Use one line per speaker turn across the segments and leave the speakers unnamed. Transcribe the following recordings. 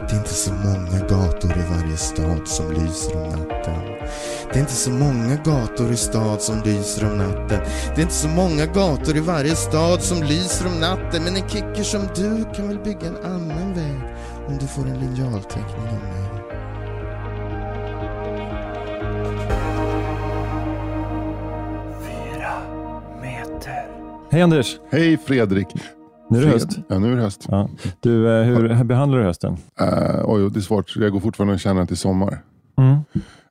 Det är inte så många gator i varje stad som lyser om natten. Det är inte så många gator i stad som lyser om natten. Det är inte så många gator i varje stad som lyser om natten. Men en kicker som du kan väl bygga en annan väg om du får en linjalteckning av mig.
Hej Anders!
Hej Fredrik!
Nu är det
Fred-
höst.
Ja, nu är det höst.
Ja. Du, eh, hur behandlar du hösten?
Eh, oj, det är svårt. Jag går fortfarande och känner att det är sommar.
Mm.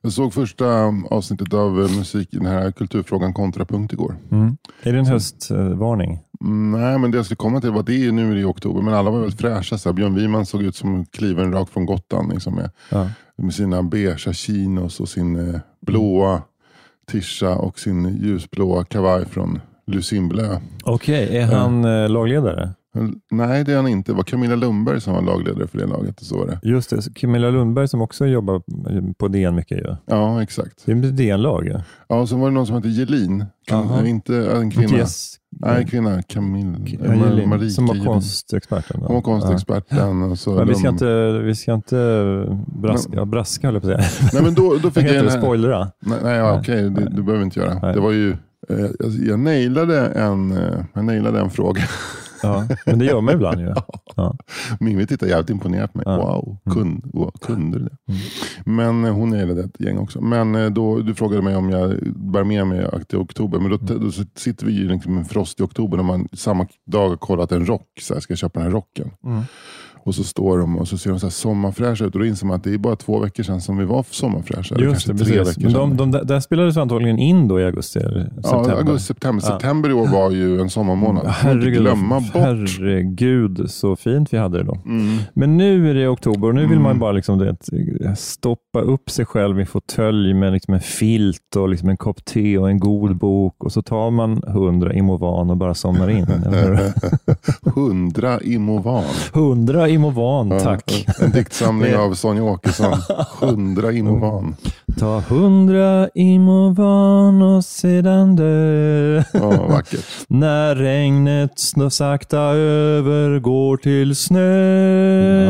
Jag såg första um, avsnittet av eh, musik, den här kulturfrågan kontrapunkt igår.
Mm. Är det en höstvarning?
Mm, nej, men det jag skulle komma till var att det är nu är det i oktober, men alla var väldigt fräscha. Så här, Björn Wiman såg ut som kliven rakt från Gotland. Liksom, med,
Ja.
med sina beigea chinos och sin eh, blåa tisha och sin ljusblåa kavaj från Lucinblö.
Okej, är han eh, lagledare?
Nej, det är han inte. Det var Camilla Lundberg som var lagledare för det laget. Och så var det.
Just det, så Camilla Lundberg som också jobbar på DN mycket. Ju.
Ja, exakt.
Det är ett DN-lag. ju.
Ja, och sen var det någon som hette Jelin. Kan,
Jaha.
nej, inte eh, en kvinna.
Yes.
Nej, kvinna. Camille.
Ja, Jelin,
Marie
som var
Jelin.
konstexperten. då.
Hon var konstexperten. Och
Ja.
så
Men vi
de-
ska inte, vi ska inte braska, ja, braska höll jag på att säga.
Nej, men då, då
Vad
fick jag
heter
den
det?
här...
Spoilera?
Nej, nej, ja,
Nej.
okej. Det, det behöver vi inte göra.
Nej.
Det var ju... eh, Jag, jag, nailade en, eh, jag nailade en fråga.
Ja, men det gör man ibland ju. Ja.
Mimmi tittade jävligt imponerat på mig.
Ja. Mm.
Wow, kund, wow, kunde du det? Men eh, hon nailade ett gäng också. Men eh, då, du frågade mig om jag bär med mig akt i oktober. Men då, då så sitter vi ju liksom en frost i oktober när man samma dag har kollat en rock. Så här, ska jag köpa den här rocken?
Mm.
Och så står de och så ser de så här sommarfräscha ut. Och då inser man att det är bara två veckor sedan som vi var sommarfräscha. eller
Just det,
kanske tre
precis.
veckor
Men de,
sedan.
de, där där spelades antagligen in då i augusti eller september?
Ja, augusti, september. September i år var ju en sommarmånad. Man får inte
Herregud,
glömma bort.
herregud så fint vi hade det då.
Mm.
Men nu är det oktober och nu vill man bara liksom det, stoppa upp sig själv i fåtölj med liksom en filt och liksom en kopp te och en
Mm.
god bok och så tar man hundra Imovan och bara somnar in. eller hur?
Hundra Imovan.
Hundra Imovan, tack.
En diktsamling av Sonja Åkesson. Hundra Imovan.
Ta hundra Imovan och sedan dö.
Ja, vackert.
När regnet snö sakta övergår till snö.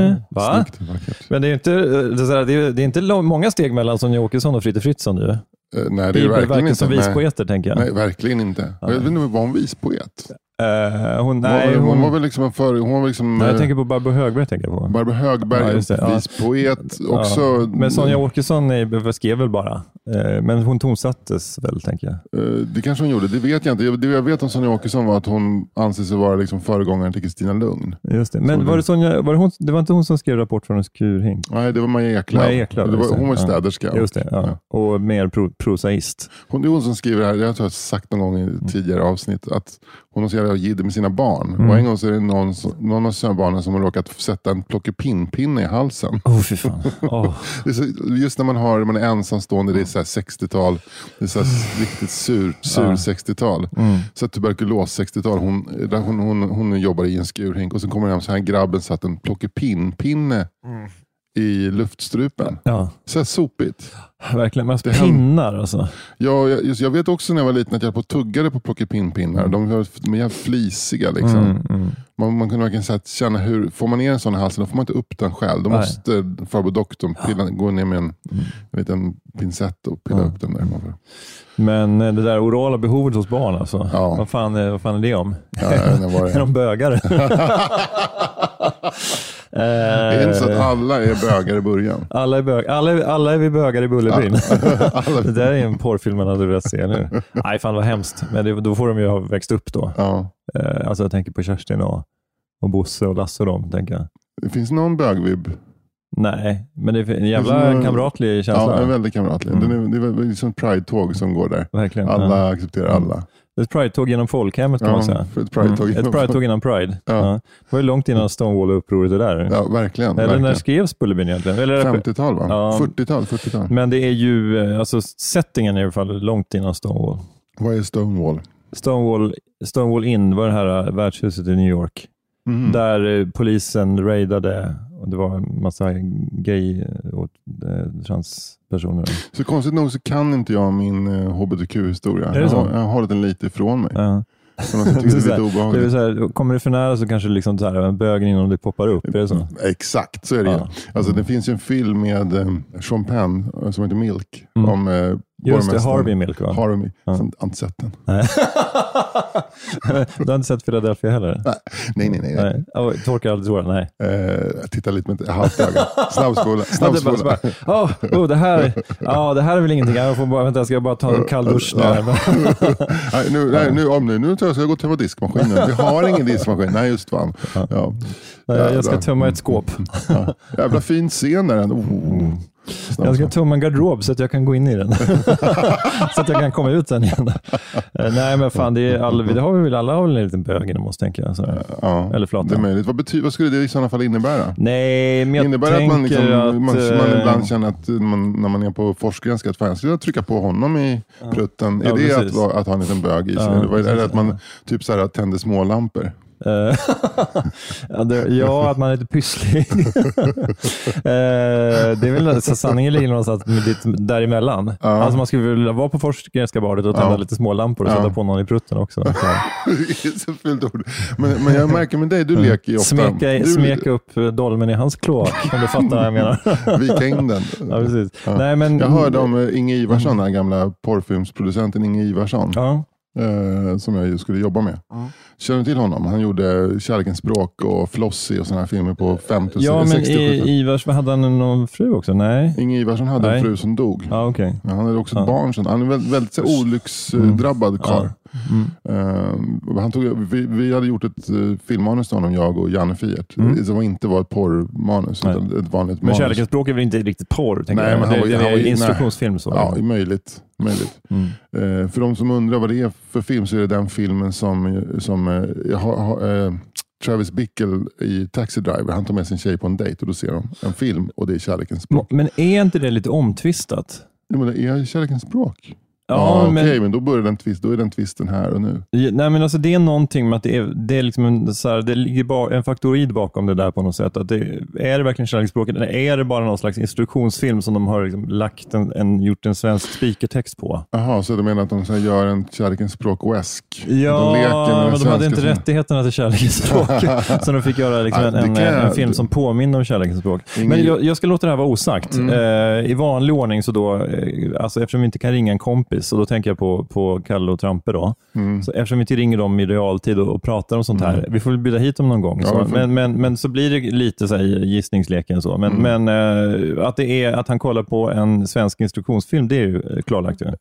Eh, Va?
Mm, Snyggt, vackert. Eh,
Men det är ju inte, eh, det är så här, det är, det är inte lång, många steg mellan Sonja Åkesson och Fritte Fritzson. Ju.
Eh, Nej, det
Det
är
är
verkligen
verkligen
inte.
som
nej.
vispoeter, tänker jag.
Nej, verkligen inte. Jag vet inte, var hon vispoet?
Eh, hon,
Nej,
nej,
hon,
hon,
var väl liksom en för... Hon var liksom...
nej, jag
eh,
tänker på Barbro Högberg. Tänker jag på.
Barbro
Ja,
Högberg,
just det, ja.
vispoet.
Ja.
Också...
Men Sonja Åkesson är, skrev väl bara. Eh, men hon tonsattes väl, tänker jag.
Eh, Det kanske hon gjorde, det vet jag inte. Jag- Det jag vet om Sonja Åkesson var att hon anses vara liksom föregångaren till Kristina Lugn.
Just det. Men
Så
var
det-
det, Sonja, var det, hon, det var inte hon som skrev Rapport från en skurhink?
Nej, det var Maja Eklöf.
Maja Eklöf,
det
just
var,
det.
hon var
Ja.
städerska.
Just det, ja.
Ja.
och mer pro, prosaist.
Hon, det är hon som skriver det här, jag tror jag har sagt någon gång i tidigare avsnitt, att hon har så jävla jidder med sina barn. Och en gång så är det någon, som- någon av sina barnen som har råkat sätta en plockepinn-pinne i halsen.
Åh, fy fan. Åh.
Det är så, just när man, har, man är ensamstående, det är så här 60-tal, det är så här riktigt sur, sur 60-tal. Så att tuberkulos 60-tal, hon, hon, hon, hon jobbar i en skurhink och så kommer det hem så här grabben satt en plockepinn-pinne i luftstrupen.
Ja,
Så här sopigt.
verkligen. Men alltså,
Det händer-
pinnar alltså.
Ja, jag, just, jag vet också när jag var liten att jag höll på och tuggade på plockepinnpinnar. De var de är jävligt flisiga. Liksom.
Mm.
Man, man kunde verkligen så här, känna hur, får man ner en sån i halsen, då får man inte upp den själv. Då
Nej. Mm.
måste farbror doktorn pilla, gå ner med en liten pincett och pilla upp den där. Man får-
Men eh, det där orala behovet hos barn alltså.
Ja.
Vad, fan, eh, vad fan är det om?
Ja, jag vet inte vad det
Är
är.
de Eh, bögare?
Det är inte så att alla är bögar i början.
Alla är, bög, alla, är, alla är vi bögar i Bullerbyn. det där är en porrfilm man hade velat se nu. Nej, fan vad hemskt. Men det, då får de ju ha växt upp då.
Ja.
Eh, alltså jag tänker på Kerstin och, och Bosse och Lasse och dem. Tänker jag.
Det finns någon bögvibb.
Nej, men det är en jävla
Det är-
kamratlig känsla.
Ja, en väldigt kamratlig.
Mm.
Den är, det är väl liksom ett pride-tåg som går där.
Verkligen.
Alla
Ja.
accepterar alla.
Det är ett pride-tåg genom folkhemmet kan man säga.
för ett pride-tåg.
Mm. Ett pride-tåg innan Pride.
Ja.
Ja. Det var ju långt innan Stonewall-upproret och där.
Ja, verkligen.
Eller när
verkligen.
skrevs Bullerbyn egentligen? Eller,
50-tal va?
Ja.
40-tal, 40-tal.
men det är ju, eh, alltså settingen är i alla fall långt innan Stonewall.
Vad är Stonewall?
Stonewall, Stonewall Inn var det här eh, värdshuset i New York.
Mhm.
Där eh, polisen raidade och det var en massa gay och eh, transpersoner.
Så konstigt nog så kan inte jag min eh, hbtq-historia.
Är det
jag,
så?
har- jag har den lite ifrån mig.
Ja.
På något sätt tycker
Det är
det är
så här- Det är
lite
väl
obehagligt.
så här, kommer det för nära så kanske liksom så här, bögen inom det poppar upp. Är det så?
Exakt, så är det ju.
Ja.
Alltså, Det finns ju en film med eh, Sean Penn eh, som heter Milk.
Mm.
Om eh,
Just det,
borgmästaren.
Harvey Milk va?
Harvey.
Ja.
Som- Jag har inte sett den.
Nej. du har inte sett Philadelphia heller?
Nej, nej, nej. nej.
Nej. Oh, torkar aldrig tårar? Nej.
Eh, jag tittar lite med ett halvt öga. Snabbspola.
Ja, det, är bara, så
Snabbspola.
bara, oh, oh, det, här, ja, det här är väl ingenting. Jag får bara, vänta, jag ska bara ta en kall dusch. eh, där.
nej, nu, nej, nu, om nu, nu tror jag jag ska gå och tömma diskmaskinen. Vi har ingen diskmaskin. Nej, just fan. Ja.
Nej, Jag ska tömma ett skåp.
Ja. Jävla fin scen där. ändå. Oh.
Jag ska tömma en garderob så att jag kan gå in i den. så att jag kan komma ut sen igen. Eh, Nej, men fan, det, är all, det har vi väl alla har väl en liten bög inom oss, tänker jag. Så.
Mm. Ja,
Eller flata.
Det är möjligt. Vad, bety- vad skulle det i sådana fall innebära?
Nej, men jag
Innebär det att
tänker
man, liksom,
att...
man, man
eh,
ibland känner att man, när man är på forskgranska att fan, jag skulle trycka på honom i prutten. Är
Ja,
det att,
precis.
vara- att ha en liten bög i sig?
Ja,
Eller vad är det- är det
precis.
att man typ så här, tänder smålampor?
Eh, ja, det, ja, att man är lite pysslig. Eh, det är väl, så sanningen ligger någonstans med ditt, däremellan. Alltså man skulle vilja vara på Forsgrenska badet och tända
Ja.
lite smålampor och
Ja.
sätta på någon i prutten också. Så.
det är så fult ord. Men, men jag märker med dig, du leker ju ofta.
Mm. Smeka,
du,
smeka upp eh, dolmen i hans kloak, om du fattar vad jag menar.
Vika in den.
ja, precis. Nej, men,
Jag hörde om eh, Inge Ivarsson, den här gamla porrfilmsproducenten Inge Ivarsson.
Ja,
eh, som jag ju skulle jobba med. Känner du till honom? Han gjorde Kärlekens språk och Flossie och sådana här filmer på 50
Eh, ja men
60
i,
70
Ivars, vad hade han någon fru också? Nej?
Inge Ivarsson hade
Nej.
en fru som dog.
Ja, okej.
Ja, Han hade också
Ja.
ett barn sen. Han är väldigt, väldigt så här olycksdrabbad karl.
Mm.
Eh, han tog, vi, vi hade gjort ett eh, filmmanus till honom, jag och Janne Fiert.
Mm.
Som inte var ett porrmanus,
Nej.
utan ett vanligt
Men
manus.
kärlekens språk är väl inte riktigt porr? Tänker
Nej,
jag.
men han
det,
var ju-
det
han
är
var ju-
instruktionsfilm. Så.
Ja, möjligt. möjligt.
Mm.
Eh, för de som undrar vad det är för film så är det den filmen som, som eh, ha, ha, eh, Travis Bickle i Taxi Driver, han tar med sin tjej på en dejt och då ser de en film och det är Kärlekens språk.
Men är inte det lite omtvistat?
Ja, men det är Kärlekens språk? Okej, men då, börjar den twist, då är den twisten här och nu.
men, nej, men alltså det är någonting med att det, är, det, är liksom en, så här, det ligger ba, en faktorid bakom det där på något sätt. Att det, är det verkligen kärleksspråket eller är det bara någon slags instruktionsfilm som de har liksom lagt en, en, gjort en svensk speakertext på?
Jaha, så du menar att de så här gör en Kärlekens språk west
Ja,
de leker med den
men de hade
svenska
inte
som-
rättigheterna till kärlekens språk. så de fick göra liksom
Ja,
en,
det
en,
kan jag-
en film som påminner om kärlekens språk.
Ingen- Mm.
Men jag, jag ska låta det här vara osagt. Eh, I vanlig ordning, så då, eh, alltså eftersom vi inte kan ringa en kompis, och då tänker jag på, på Kalle och Trampe. Då.
Mm.
Så eftersom vi inte ringer dem i realtid och, och pratar om sånt här. Vi får väl bjuda hit dem någon gång.
Ja,
så.
vi får-
Men, men, men så blir det lite så här gissningsleken. Så. Men,
Mm.
men eh, att, det är, att han kollar på en svensk instruktionsfilm, det är ju eh, klarlagt. Ju.
Eh,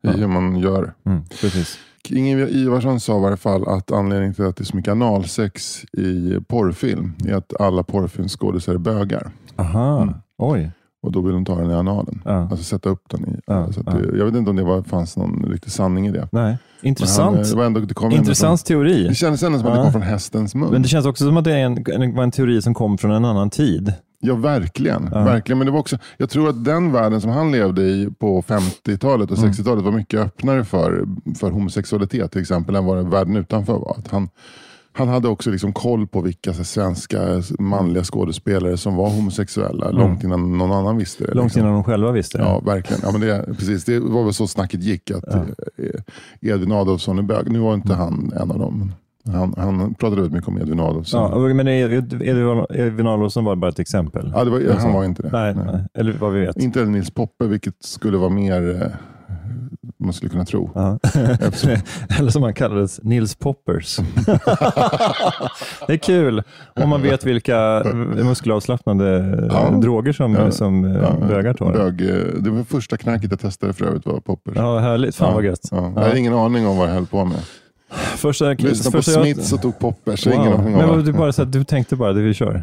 Ja, i hur man gör.
Mm, precis.
Inge Ivarsson sa i varje fall att anledningen till att det är så mycket analsex i porrfilm är att alla porrfilmsskådisar är bögar.
Aha, oj.
Och då vill de ta den i analen.
Mm. Ja.
Alltså sätta upp den i.
Ja,
så att det, jag vet inte om det var, fanns någon riktig sanning i det. Men
Nej.
han,
Intressant.
eh, det, var ändå, det, kom ändå
Intressant
Från,
teori.
det kändes ändå som att
Ja.
det kom från hästens mun.
Men det känns också som att det är en, en, var en teori som kom från en annan tid.
Ja, verkligen. verkligen. Men det var också, jag tror att den världen som han levde i på 50-talet
Mm.
och 60-talet var mycket öppnare för, för homosexualitet till exempel än vad världen utanför var. Att han, han hade också liksom koll på vilka så, här, svenska manliga skådespelare som var homosexuella långt innan någon annan visste det.
Mm. Långt
liksom.
innan de själva visste det.
Ja, verkligen. Ja, men det, precis. det var väl så snacket gick. att eh, Edvin Adolfsson är bög. Nu var inte
Mm.
han en av dem. men Han, han pratade väldigt mycket om Edvin Adolfsson.
Ja, och- men Edvin Adolfsson var bara ett exempel.
Ja, det var, han var inte det.
nej, nej. Eller vad vi vet.
Inte heller Nils Poppe, vilket skulle vara mer eh, man skulle kunna tro.
Ja. Eller som han kallades, Nils Poppers. det är kul om man vet vilka muskelavslappnande
Ja.
droger som,
Ja.
som eh, bögar tar.
Bög, eh, det var första knarket jag testade för övrigt var poppers.
Ja, vad härligt. Fan vad gött.
Ja. Jag hade ingen aning om vad jag höll på med.
Första,
Lyssnade på
första jag-
Smiths och tog poppers. Jag har
Wow.
Ingen aning om
Men
vad-
vad- du, bara, så att du tänkte bara, det vi kör.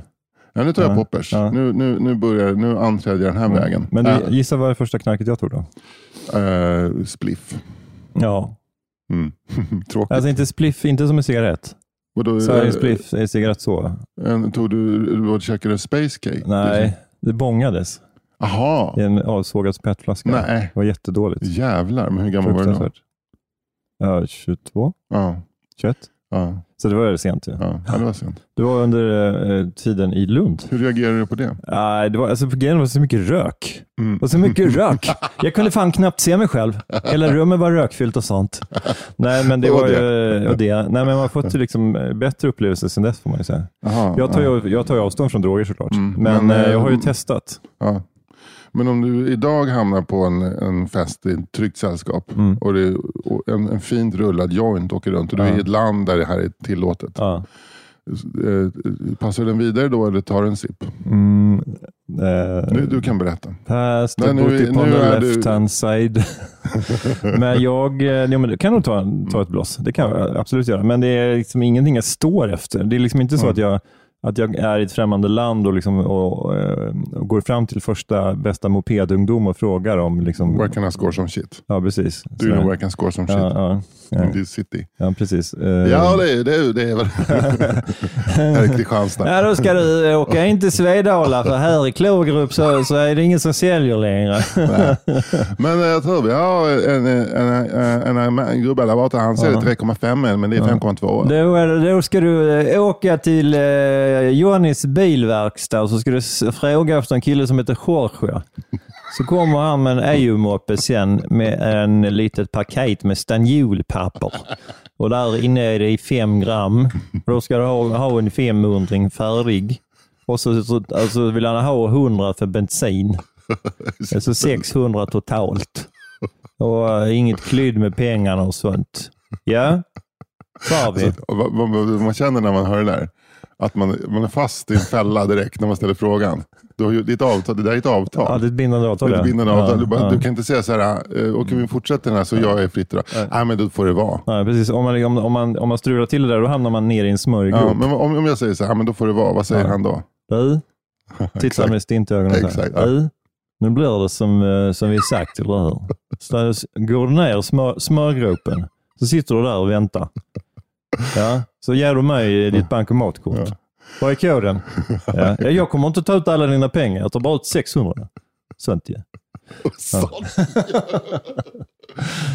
Ja, nu tar jag
Ja,
poppers.
ja.
Nu, nu, nu, börjar, nu anträder jag den här vägen.
Mm. Men du, gissa vad det första knarket jag tog då?
Äh, eh, spliff.
Ja,
Mm. Tråkigt.
alltså inte spliff, inte som en cigarett.
Vadå,
Sverige
eh,
spliff är cigarett så.
en- Tog du, du var och käkade space cake? Liksom.
Nej, det bångades
Aha.
i en avsågad petflaska.
Nej.
Det var jättedåligt.
Jävlar, men hur gammal var du då?
Fruktansvärt. Ja, 22,
Ja,
21.
ja,
Så det var väldigt sent ju.
ja. ja, det var sent.
Det var under eh, tiden i Lund.
Hur reagerade du på det?
Nej, det var, alltså, grejen var så mycket rök.
Mm.
Det var så mycket rök. Jag kunde fan knappt se mig själv. Hela rummet var rökfyllt och sånt. Nej, men det
Och
var ju... Och det. Nej, men man har fått ju liksom eh, bättre upplevelser sedan dess får man ju säga.
Aha,
Jag tar ju jag tar ju avstånd från droger såklart,
Mm,
men,
men,
eh, jag har ju
eh,
testat.
Ja. Men om du idag hamnar på en, en fest i ett tryggt sällskap
Mm.
och, det, och en, en fint rullad joint åker runt och du är i ett land där det här är tillåtet.
Ja.
Eh, Passar den vidare då eller tar du en sipp?
Mm,
Nu,
eh,
du kan berätta.
past the
Nej, nu
booty
är-
upon
nu
the
är du-
left hand side. men jag eh, jo, men du kan nog ta, en- ta ett blås. Det kan jag absolut göra. Men det är liksom ingenting jag står efter. Det är liksom inte
Mm.
så att jag att jag är i ett främmande land och, liksom, och, eh, och går fram till första bästa mopedungdom och frågar om... Liksom,
Where can I score some shit?
ja, precis.
Do you
Så-
know where I can score some shit?
ja, ja,
In
ja,
this city.
ja, precis. Eh,
Ja, det är det. Är, det är väl här är Kristianstad.
Ja, då ska du eh, åka in till Svedala för här i Klorgrupp så, så är det ingen som säljer längre.
Men eh, jag tror vi har en, en, en, en, en, en gubbe där borta. Han säger 3,5 än, men det är 5,2.
Då, är det- då ska du eh, åka till eh, Johannys bilverkstad och så ska du s- fråga efter en kille som heter Jorge. Så kommer han med en EU-moppe sen med en litet paket med stanniolpapper. Och där inne är det i fem gram. Och Då ska du ha, ha en femhundring färdig. Och så, så alltså vill han ha 100 för bensin. Alltså 600 totalt. Och eh, inget klydd med pengarna och sånt. Ja, sa vi.
Och vad, vad, vad man känner när man hör det där, att man, man är fast i en fälla direkt när man ställer frågan. Du har ju, ditt avtal, det där är ett avtal.
Ja, det är ett bindande avtal.
Det är ett
ja.
bindande avtal.
Ja,
du, bara,
ja. Mm.
du kan inte säga så här, eh, och kan vi fortsätter den här så jag är fritt idag. Nej, men då får det vara.
Nej, precis. Om man, liksom- om, om, man, om man strular till det där, då hamnar man ner i en smörgrop.
Ja, men om, om jag säger så här, men då får det vara. Vad säger han då?
Du, titta
Exakt.
med stint i ögonen. så här.
Exakt, ja.
Du, nu blir det som, eh, som vi sagt, eller hur? Så s- går du ner i smör, smörgropen, så sitter du där och väntar. Ja, så ger du mig eh, ditt bankomatkort. Vad är koden? Ja. "Ja, Jag kommer inte ta ut alla dina pengar. Jag tar bara ut 600. Sånt ju.
Sånt.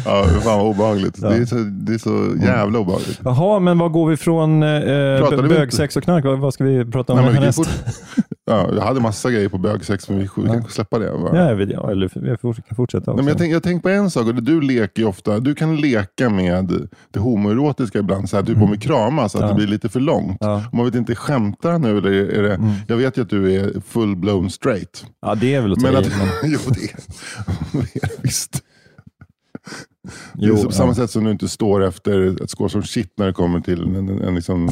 ja, fan vad obehagligt. Det, är så, det är så
Mm.
jävla obehagligt.
Jaha, men var går vi från eh,
Pratade vi
bö-
inte?
bög, sex och knark? Vad, vad ska vi prata om
Nej, men vi kan ju
härnäst?
fort... ja, jag hade massa grejer på bögsex, men vi, vi kan släppa det. Va?
Ja, jag vet, ja, eller vi får- kan fortsätta.
Nej, men jag
också.
tänker jag tänk på en sak, och det- du leker ju ofta, du kan leka med det homoerotiska ibland, så här, typ
Mm.
om vi kramas, att det blir lite för långt.
Ja. Mm.
Och Man vet inte, skämtar han nu eller är det, jag vet ju att du är full-blown straight.
Ja, det är väl att ta
Men
i,
att,
men-
jo, det, det är det visst.
Jo,
det är på samma
ja.
sätt som du inte står efter ett skål som shit när det kommer till en, en, en liksom,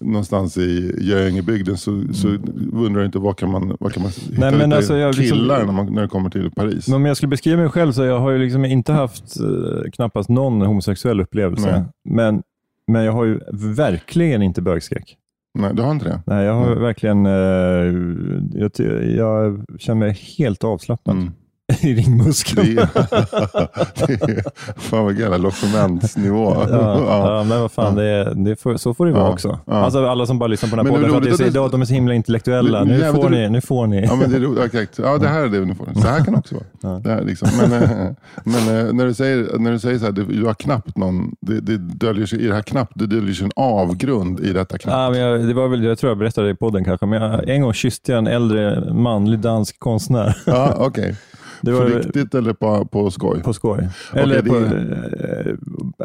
någonstans i Göingebygden, så, så undrar du inte vad kan man, vad kan man hitta
Mm. men
lite
alltså, jag liksom-
killar när, man, när det kommer till Paris.
Men om jag skulle beskriva mig själv så jag har ju liksom inte haft eh, knappast någon homosexuell
Nej.
upplevelse. Men, men jag har ju verkligen inte bögskräck.
Nej, du har inte det?
Nej, jag har verkligen... Eh, jag, ty- jag känner mig helt avslappnad
Mm.
i
Det
ringmuskeln.
är, det är, fan vad jävla logementsnivå.
Ja,
Ja.
ja, men vad fan, det är, det får, så får det vara
Ja,
också.
ja.
Alltså alla som bara lyssnar på den här
Men det är
podden för att det
roligt
är så,
att du-
idag, de är så himla intellektuella.
Det-
Nu
jävligt
får
roligt.
ni, nu får ni.
Ja, men det är roligt. Ja, exakt. Ja, det här är det uniformen. Så här kan det också vara. Det här liksom. Men, eh, men eh, när du säger, när du säger så här, det- du har knappt någon, det, det döljer sig, i det här knappt, det döljer sig en avgrund i detta knappt.
Ja, men jag, det var väl, jag tror jag berättade det i podden kanske, men jag, en gång kysste jag en äldre manlig dansk konstnär.
Ja, okej.
Det
På
var
riktigt eller på, på skoj?
på skoj. Eller
det-
på, eh,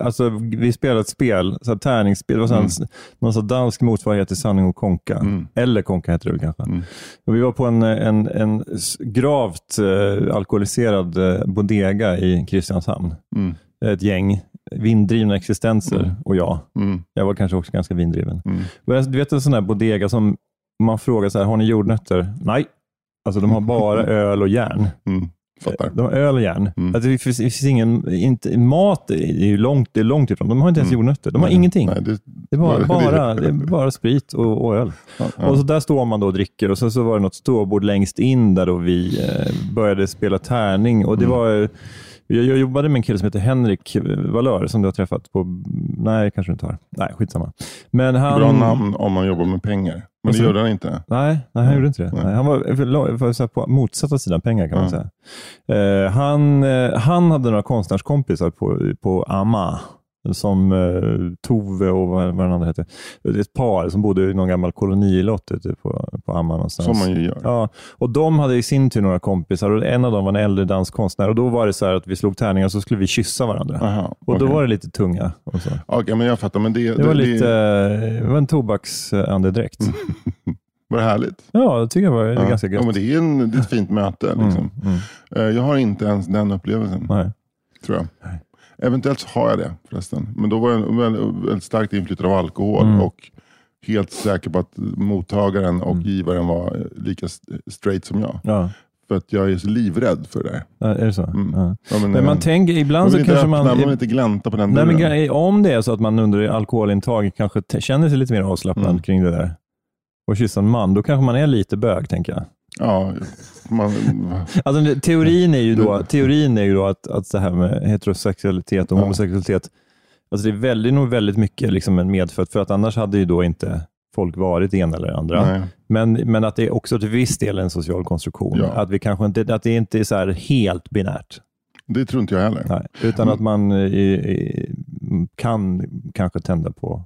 alltså, vi spelade ett spel, så här tärningsspel. Det var så här,
Mm.
en- någon så här dansk motsvarighet till Sanning och Konka. Eller Konka heter det väl kanske.
Mm.
Och vi var på en, en, en s- gravt eh, alkoholiserad eh, bodega i Kristianshamn.
Mm.
Ett gäng vinddrivna existenser och jag.
Mm.
Jag var kanske också ganska vindriven.
Mm.
Men jag- Du vet en sån där bodega som man frågar så här, har ni jordnötter? Nej. Alltså de har bara öl och järn.
Mm. Fattar.
De har öl och järn.
Mm.
Att det finns, det finns ingen, inte, mat är ju långt, det är långt ifrån. De har inte ens
Mm.
jordnötter. De har
Nej,
ingenting.
Nej, det,
Det är bara,
Nej, det är det.
bara, det är bara sprit och, och öl.
ja,
Och
ja.
så där står man då och dricker och sen så var det något ståbord längst in där då vi eh, började spela tärning. Och det
Mm.
var, eh, jag, jag jobbade med en kille som heter Henrik Valör som du har träffat på... Nej, kanske du inte har. Nej, skitsamma. Men han,
Bra namn om man jobbar med pengar. Men
Och
det
så-
gör den inte.
Nej, nej han
Nej,
gjorde inte det.
nej.
Nej, han var för, la- för, så här, på motsatta sidan pengar kan man
Ja.
säga. Eh, han, eh, han hade några konstnärskompisar på, på Amma som eh, Tove och vad, vad den andra hette. Ett par som bodde i någon gammal kolonilott ute på, på Amma någonstans.
Som man ju gör.
Ja, och de hade i sin tur några kompisar och en av dem var en äldre danskonstnär. Och Då var det så här att vi slog tärningar och så skulle vi kyssa varandra.
Aha,
Och Då
okej.
var det lite tunga. Och så.
Okej, men jag fattar. Men det,
Det var lite eh, det var en tobaksandedräkt.
var det härligt?
Ja, det tycker jag var ganska gött.
Ja, men det, är en, det är ett fint möte. Liksom.
Mm, mm,
Eh, Jag har inte ens den upplevelsen,
nej.
tror jag. Eventuellt så har jag det förresten. Men då var jag väldigt, väldigt starkt inflyttad av alkohol
Mm.
och helt säker på att mottagaren och givaren var eh, lika s- straight som jag.
Ja,
För att jag är så livräd för det där.
ja, är det så?
Mm.
Ja.
Ja,
Men man
eh,
tänker,
man
ibland
vill
så
inte
kanske
öppna, man
man...
vill inte glänta på den
Nej,
dörren.
men grej- om det är så att man under alkoholintag kanske t- känner sig lite mer avslappnad
Mm.
kring det där och kyssa en man, då kanske man är lite bög, tänker jag.
Ja, man,
Alltså, det- teorin är ju då, teorin är ju då att, att det här med heterosexualitet och
Mm. Ja.
homosexualitet, alltså det är väldigt, nog väldigt mycket liksom en medfött, för att annars hade ju då inte folk varit det ena eller det andra.
nej.
Men, men att det är också till viss del en social konstruktion.
Ja.
Att, vi kanske inte, att det inte är så här helt binärt.
Det tror inte jag heller.
Nej, utan
Mm.
att man eh, eh, kan kanske tända på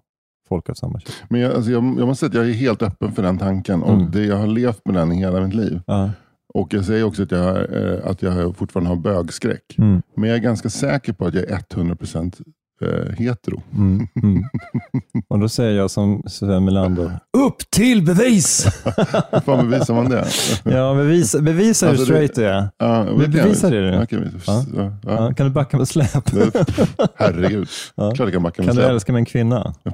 folk av samma kön.
Men jag, alltså jag, jag måste säga att jag är helt öppen för den tanken. Och
Mm.
det, Jag har levt med den i hela mitt liv.
Ja.
Och Jag säger också att jag, har, eh, att jag fortfarande har bögskräck.
Mm,
Men jag är ganska säker på att jag är 100% eh, hetero.
mm, mm. Och då säger jag som Sven Melander, upp till bevis!
Hur fan bevisar man det?
Ja, bevisa, bevisa
Alltså,
hur
det-
straight du är.
Ja,
Vi bevisar det nu.
Ja, kan vi-
Ja.
ja,
Ja,
ja.
kan du backa med släp?
Herregud.
Ja.
Klart jag kan backa med
Kan du
släp.
älska med en kvinna?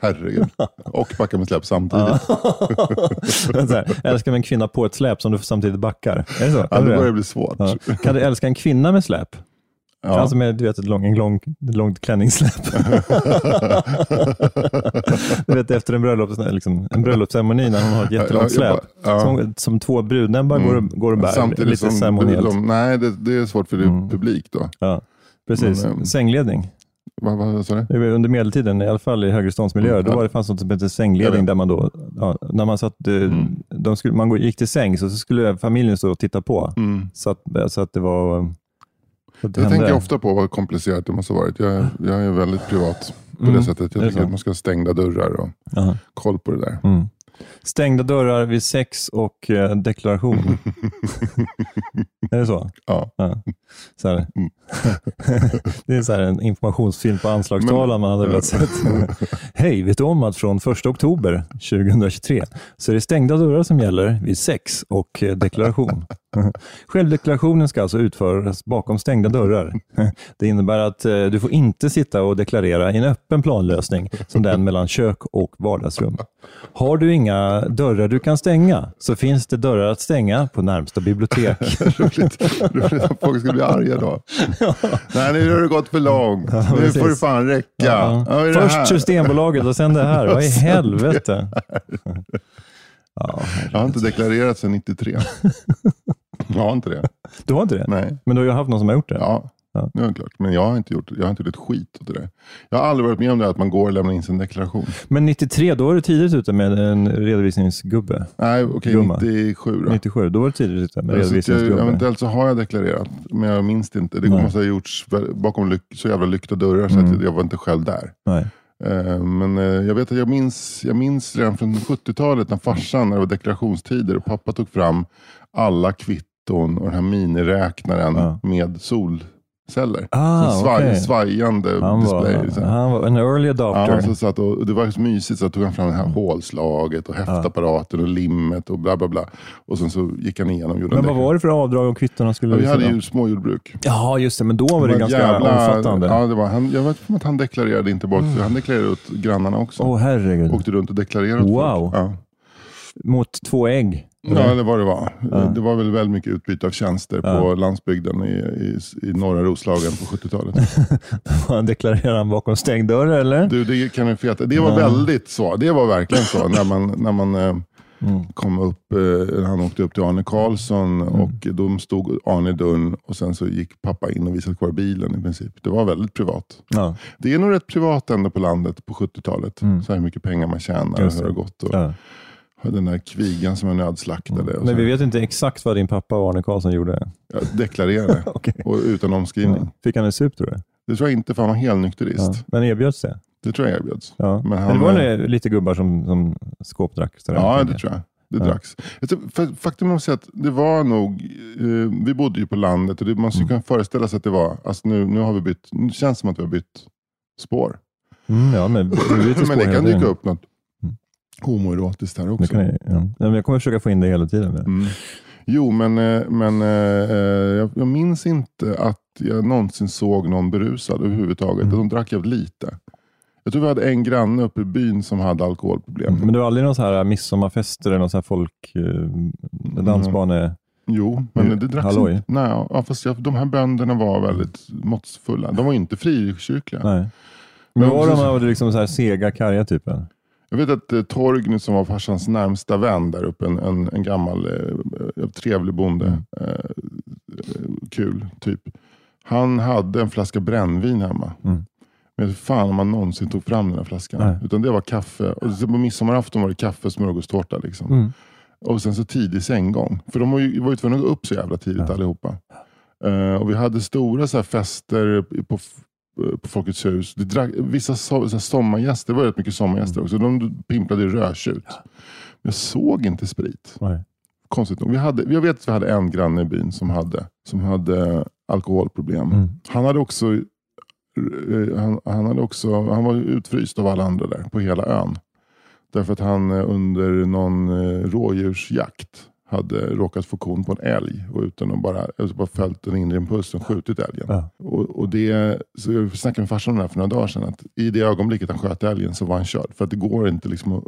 Herregud. Och backa med släp samtidigt.
Ja.
Ja.
Men så här, älska med en kvinna på ett släp som du samtidigt backar. Är det så? Kan, du
det börjar
det?
det bli svårt.
Ja. kan du älska en kvinna med släp?
Ja.
Alltså med du vet, ett, lång, en lång, ett långt klänningssläp. du vet efter en, bröllops, liksom, en bröllopsceremoni när hon har ett
Ja,
jättelångt
jag
släp.
bara- ja. Mm.
Som, som två brudnäbbar går, och- går och bär.
Samtidigt
lite Mm.
som
ceremoniellt.
de- Nej, det, det är svårt för det är publik då.
Ja, precis.
Men, ehm,
Sängledning.
Vad vad sa du?
Det var Under medeltiden, i alla fall i högreståndsmiljöer,
Mm.
då var det fanns något som hette
Jag
sängledning
vet.
där man då, ja, när man, satt, eh,
Mm.
de skulle, man gå- gick till sängs och så skulle familjen stå och titta på. Så, att, så att det var... eh, Så att det
Jag
hände.
tänker ofta på vad komplicerat det måste ha varit. Jag, jag är väldigt privat på
Mm,
det sättet.
är det
Jag tycker
så?
att man ska ha stängda dörrar och
Jaha.
koll på det där.
Mm. Stängda dörrar vid sex och eh, deklaration. är det så?
Ja.
Ja. Så här. det är så här en informationsfilm på anslagstavlan man hade velat sett. Hej, vet du om att från 1 oktober 2023 så är det stängda dörrar som gäller vid sex och eh, deklaration. Självdeklarationen ska alltså utföras bakom stängda dörrar. Det innebär att eh, du får inte sitta och deklarera i en öppen planlösning som den mellan kök och vardagsrum. Har du inga dörrar du kan stänga så finns det dörrar att stänga på närmsta bibliotek.
Roligt. Roligt att folk ska bli arga då. Nej, nu har det gått för långt. nu
precis.
får det fan räcka. Ja. vad är det
Först
här?
Systembolaget och sen det här. Vad i helvete? Ja,
Jag har inte deklarerat sedan 93. Jag har inte det.
du har inte det?
Nej.
Men du har ju haft någon som har gjort det?
Ja,
Ja.
nu är det klart. Men jag har inte gjort, jag har inte gjort ett skit åt det där. Jag har aldrig varit med om det här att man går och lämnar in sin deklaration.
Men 93, då var du tidigt ute med en redovisningsgubbe.
Nej, okej,
Gumma.
97 då.
97, då var du tidigt ute med
Jag sitter-
redovisningsgubbe.
eventuellt så har jag deklarerat, men jag minns det inte. Det måste ha gjorts bakom lyck, så jävla lyckta dörrar,
Mm.
så att jag var inte själv där.
Nej.
Eh, Men eh, jag vet att jag minns, jag minns redan från 70-talet när farsan, när det var deklarationstider, och pappa tog fram alla kvitton och den här miniräknaren
Ja.
med solceller.
Ah,
så svaj,
okej.
Svajande
Han
display. så
var,
här.
han var en early adopter.
Ja, alltså, så satt och, och det var så mysigt, så tog han fram det här hålslaget och häftapparaten och limmet och bla bla bla. Och sen så gick han igenom och gjorde
men
en
vad
deklaration.
var det för avdrag och kvitton han skulle
Ja, vi
visa?
hade
då?
ju småjordbruk.
Ja, just det. Men då var det,
ett
ganska
jävla-
omfattande. Åh,
Ja, det var, han, jag vet inte att han deklarerade inte bara, för han deklarerade åt grannarna också.
herregud.
Åkte runt och deklarerade åt
Wow.
folk. Ja.
mot två ägg.
Ja, det var det var.
Ja.
Det var väl väldigt mycket utbyte av tjänster på
Ja.
landsbygden i, i, i norra Roslagen på 70-talet.
Deklarerar han bakom stängd dörr eller?
Du, det kan du feta. Det var
Ja.
väldigt så. Det var verkligen så när man, när man eh,
Mm.
kom upp. Eh, han åkte upp till Arne Karlsson och de stod Arne i dörren och sen så gick pappa in och visade kvar bilen i princip. Det var väldigt privat.
Ja.
Det är nog rätt privat ändå på landet på 70-talet. Så här hur mycket pengar man tjänar och
Mm. Just
hur det har gått. Och
Ja.
Den där kvigan som är nödslaktade. Och
Men
så-
Mm. vi vet inte exakt vad din pappa och Arne Karlsson gjorde.
Ja, deklarerade.
Okej.
och utan omskrivning.
Fick han en sup tror du?
Det tror jag inte, för han var helnykterist.
Ja. Men erbjöds det?
Det tror jag erbjöds.
Ja.
Men
Men,
han- eh,
det var nog lite gubbar som, som skåpdrack? sådär.
Ja, det tror jag. Det
Ja.
dracks. Jag tror- för- Faktum är också att det var nog, eh, vi bodde ju på landet och det, man
Mm.
skulle kunna föreställa sig att det var, alltså nu, nu har vi bytt, nu känns det som att vi har bytt spår.
Mm, ja, men, vi byter spår
Men det
hela
kan
tiden.
dyka upp något
Mm.
homoerotiskt här
Det
också.
kan jag, ja. Nej, men jag kommer försöka få in det hela tiden. Men.
Mm. Jo, men, eh, men eh, eh, jag, jag minns inte att jag någonsin såg någon berusad överhuvudtaget.
Mm.
De drack jävligt lite. Jag tror vi hade en granne uppe i byn som hade alkoholproblem.
Mm, Men det var aldrig någon så här midsommarfester eller någon så här folk,
Mm.
eh, dansbane...
Jo, men
Mm.
det dracks
Halloj.
inte. Nej, ja, fast jag, de här bönderna var väldigt måttfulla. De var inte frikyrkliga.
Nej. Men
Men
var de
precis-
av liksom så här sega, karga typen?
Jag vet att eh, Torgny som var farsans närmsta vän där uppe, en, en, en gammal eh, eh, trevlig bonde, eh, eh, kul typ. Han hade en flaska brännvin hemma.
Mm.
Men jag vet fan om han någonsin tog fram den här flaskan.
Nej.
Utan det var kaffe. Och så på midsommarafton var det kaffe, smörgåstårta. Liksom.
Mm.
Och sen så tidig sänggång. För de var ju, var ju tvungna att gå upp så jävla tidigt allihopa. Eh, och vi hade stora så här fester på, på Folkets hus. Det drack, vissa so, så här sommargäster, det var rätt mycket sommargäster också. De pimplade i rödtjut. Men jag såg inte sprit.
Nej.
Konstigt nog. Vi hade, jag vet att vi hade en granne i byn som hade, som hade alkoholproblem.
Mm.
Han hade också eh, han, han, hade också, han var utfryst av alla andra där på hela ön. Därför att han eh, under någon eh, rådjursjakt hade råkat få kon på en älg och utan att bara, alltså bara följt den inre impulsen skjutit älgen.
Ja.
Och, och det, så jag snackade med farsan om det här för några dagar sedan. Att I det ögonblicket han sköt älgen så var han körd. För att det går inte liksom att,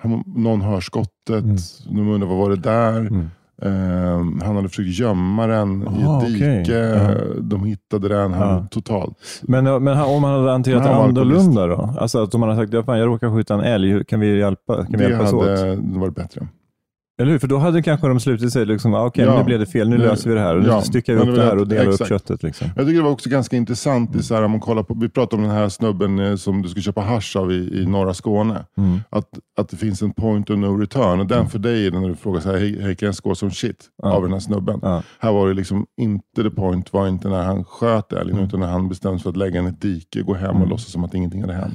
han, någon hör skottet,
Mm.
de undrar vad var det där?
Mm.
Eh, han hade försökt gömma den
Aha,
i ett
okej.
dike.
Ja.
De hittade den. Han
Ja.
totalt
Men, eh, men han- om han hade hanterat
Men
det
han var alkoholist.
annorlunda då? Alltså att om han hade sagt, ja, fan, jag råkar skjuta en älg, hur- kan vi, hjälpa, kan vi
det
hjälpas åt?
hade varit bättre.
Eller hur? För då hade kanske de slutit sig. Liksom, ah, Okej,
Ja.
nu blev det fel. Nu
Nu-
löser vi det här. Nu
ja.
styckar vi
Men
upp
det
det
var
här och
det-
delar upp
exakt.
köttet. Liksom.
Jag tycker det var också ganska intressant.
Mm.
I så här, om man kollar på, vi pratade om den här snubben eh, som du ska köpa hasch av i, i norra Skåne.
Mm.
Att, att det finns en point of no return. Och den för dig är den när du frågar så här, hej, hej kan jag skåla som shit
Ja.
av den här snubben.
Ja.
Här var det liksom inte the point, var inte när han sköt älgen,
Mm.
utan när han bestämde sig för att lägga den i ett dike, gå hem och låtsas som att ingenting hade hänt.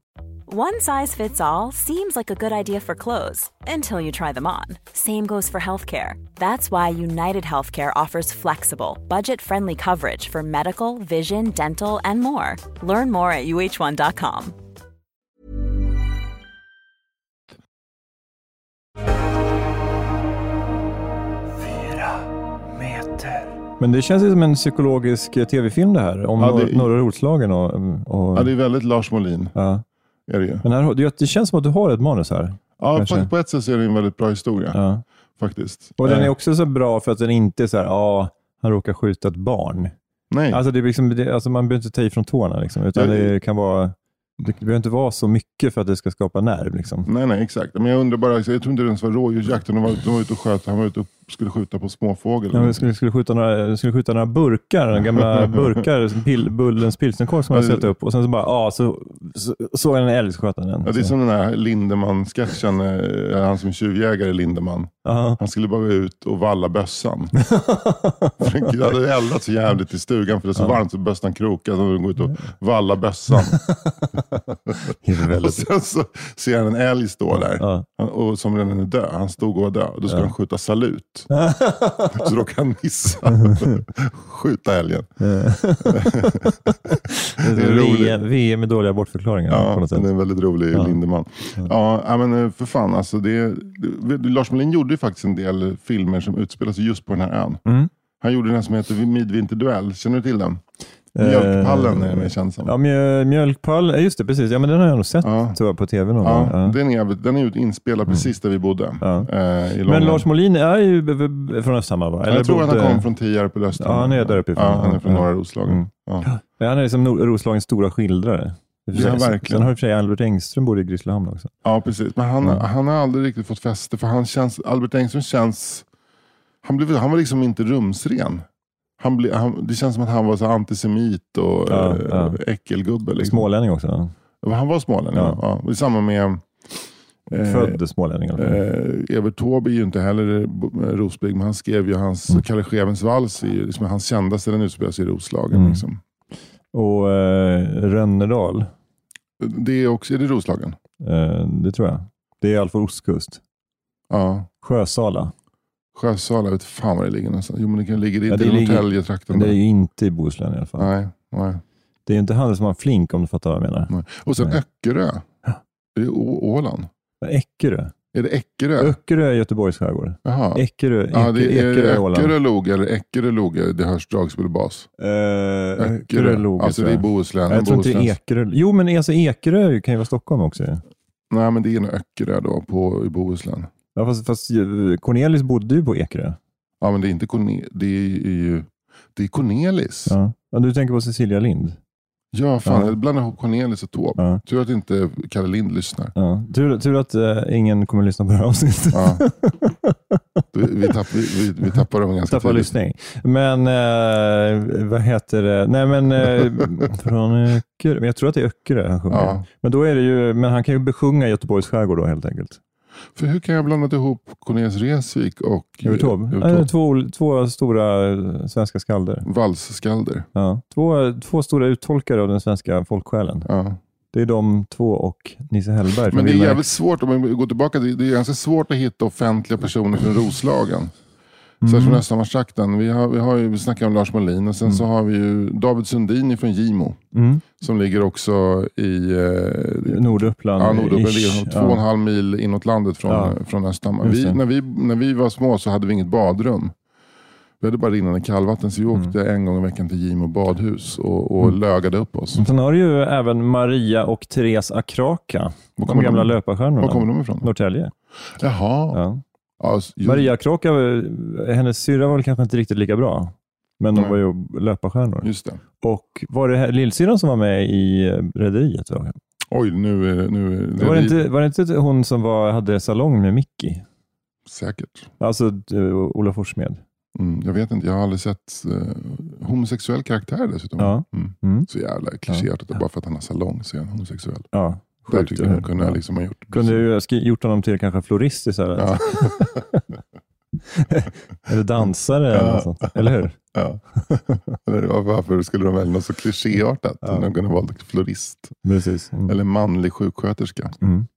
One size fits all seems like a good idea for clothes until you try them on. Same goes for healthcare. That's why United Healthcare offers flexible, budget friendly coverage for medical, vision, dental, and more. Learn more at uh1.com.
Men det känns ju som en psykologisk eh, tv-film det här. Om
Ja,
ja,
det-
norra Roslagen och... mm, och
Ja, det är väldigt Lars Molin.
ja.
Är det, ju.
Men här, har- det- det känns som att du har ett manus här.
Ja,
Kanske.
faktiskt på ett sätt så är det en väldigt bra historia.
Ja.
Faktiskt.
Och den
Eh,
är också så bra för att den inte är så här, ja, ah, han råkar skjuta ett barn.
Nej.
Alltså, det är liksom, det, alltså man behöver inte ta ifrån tårna, liksom, utan
Ja,
det kan vara... Det behöver inte vara så mycket för att det ska skapa nerv. Liksom.
Mm. alltså, Nej, nej, exakt. Men jag undrar bara, jag tror inte det ens var rådjursjakt. De var, de var ute och sköt, han var ute och skulle skjuta på småfågel.
Ja, vi skulle, skulle, skjuta några, vi skulle skjuta några burkar, gamla burkar, som pil, Bullens pilsnerkork som jag hade ställt upp och sen så bara, ja, så så- såg jag en älg så sköt jag den.
Ja, det är som den här Lindemann-sketchen, eh, han som är tjuvjägare Lindemann.
Ja.
Han skulle bara gå ut och valla bössan. För det hade eldat så jävligt i stugan för det är så varmt så bössan krokade. Så han går ut och valla bössan.
Det är
och
väldigt...
sen så ser han en älg stå där.
Ja.
Han, och som redan är död. Han stod och var död. Då skulle han skjuta salut. så råkade han missa. skjuta älgen.
Det
är
är
roligt.
VM, VM E med dåliga bortförklaringar på
Ja,
något
den
sätt.
är väldigt rolig, Lindemann. Ja, ja, men eh, för fan. Alltså det, det- Lars Melin gjorde ju faktiskt en del filmer som utspelar sig just på den här ön.
Mm.
Han gjorde den som heter Midvinterduell. Känner du till den? Mjölkpallen är det mer känd som.
Eh, Ja, mjö- mjölkpall, ja, just det, precis. Ja, men den har jag nog sett
Ja.
tror jag, på tv någon gång.
Ja,
Ja. Mm.
Den, är, jävligt- den är ju inspelad precis där vi bodde. eh, i
Men
Lången.
Lars Molin är ju b- b- från Östhammar va?
Jag tror att han
bodde-
kom från Tierp eller Östhammar.
Ja, han är där uppifrån.
Ja, han är från
Ja.
norra Roslagen.
Mm.
Ja.
Ja, han är liksom Nor- Roslagens stora skildrare. I och för
Ja,
sig.
verkligen.
Sen har i och för sig Albert Engström bor i Grisslehamn också.
ja, precis. Men han,
Mm.
han har aldrig riktigt fått fäste. För han känns, Albert Engström känns... Han, blev, han var liksom inte rumsren. Han blev, han, det känns som att han var så antisemit och
Ja,
eh,
ja.
äckelgubbe. Liksom.
Smålänning också. va?
Han var smålänning. Ja.
Ja.
Ja. Det är samma med... eh,
Född smålänning i alla fall.
Eh, Evert Taube är ju inte heller eh, Rosbygd, men han skrev ju hans
Mm.
Kalle Schewens vals, är ju liksom hans kändaste, den utspelar sig i Roslagen.
Mm.
Liksom.
Och eh, Rönnerdal,
Det är, också, är det Roslagen?
eh, det tror jag. Det är i alla fall ostkust.
Ja.
Sjösala,
Sjösala, jag vet fan var det ligger någonstans. Jo, men det kan ligga det är
Ja,
inte
det
i
ligger-
Norrtäljetrakten.
men det är
där.
ju inte i Bohuslän i alla fall.
Nej, nej,
Det är ju inte han som har flink om du fattar vad jag menar.
nej. Och sen
Nej.
Öckerö. Är det Å- Åland?
Eckerö.
Är det Eckerö?
Öckerö är Göteborgs skärgård.
Jaha.
Eckerö, Eckerö,
Ja, det är
Ekerö, Åland.
Öckerö loge eller Eckerö loge, det hörs dragspel och bas.
Eh, Öckerö
Öckerö.
låg
Alltså det är Bohuslän.
Jag tror inte
Bohuslän.
Ekerö. Jo, men alltså Ekerö kan ju vara Stockholm också. ju.
Nej, men det är nog Öckerö då på, i Bohuslän.
Ja, fast, fast ju- Cornelis bodde ju på Ekerö.
Ja, men det är inte Corne- det är ju det är Cornelis. Ja,
Ja. Ja, du tänker på Cecilia Lind.
fan.
Ja.
Jag blandar ihop Cornelis och Taube.
Ja.
Tur att inte Kalle Lind lyssnar.
Ja. Tur, tur att eh, ingen kommer lyssna på det här avsnittet.
Ja. Vi, vi, tapp, vi, vi, vi tappar dem ganska
Tappa
tidigt.
lyssning. Men eh, vad heter det? Nej, men eh, från Öckerö. Men jag tror att det är Öckerö han sjunger.
Ja.
Men, då är det ju, men han kan ju besjunga Göteborgs skärgård då helt enkelt.
För hur kan jag blanda ihop Cornelis Resvik och
Utob.
Evert
Eh,
Taube?
Två, två stora eh, svenska skalder.
Valsskalder.
Ja. Två, två stora uttolkare av den svenska folksjälen.
Ja.
Det är de två och Nisse Hellberg. från
Men det är
Villa
jävligt svårt, om man går tillbaka, det det är ganska svårt att hitta offentliga personer från Roslagen.
Mm.
Särskilt från Östhammarstrakten. Vi, har, vi, har ju, vi snackar om Lars Molin och sen så har vi ju David Sundin från Gimo.
Mm.
Som ligger också i eh,
Norduppland.
Ja, Norduppen
ish.
ligger två och en halv mil inåt landet från,
Ja.
från Östhammar.
Just
Vi,
det.
när, vi, när vi var små så hade vi inget badrum. Vi hade bara rinnande kallvatten, så vi
Mm.
åkte en gång i veckan till Gimo badhus och, och lögade upp oss.
Sen har du ju även Maria och Therese Akraka.
Var
De
kommer
gamla
de-
löparstjärnorna.
Var kommer de ifrån?
Norrtälje.
Jaha. Ja.
Ja.
alltså, ju-
Maria Akraka, eh, hennes syrra var väl kanske inte riktigt lika bra. Men de
Nej.
var ju löparstjärnor.
Just det.
Och var det här lillsyrran som var med i eh, Rederiet? va?
Oj, nu är det... Nu är
Var det, inte, var det inte hon som var, hade salong med Mickey?
Säkert.
Alltså eh, Ola Forssmed.
Mm, jag vet inte, jag har aldrig sett eh, homosexuell karaktär dessutom.
Ja.
Mm.
Mm.
Så jävla klichéartat, bara för att han har salong så är han homosexuell.
Ja,
Där
sjukt,
tyckte
eller
jag
hur?
kunde
Ja.
jag liksom ha gjort...
Kunde ju ha skri- gjort honom till kanske florist istället.
Ja.
Eller dansare eller något sånt. Eller hur?
Ja. Eller var- Varför skulle de välja något så klichéartat? De kunde ha valt florist
Precis. Mm.
eller manlig sjuksköterska.
Mm.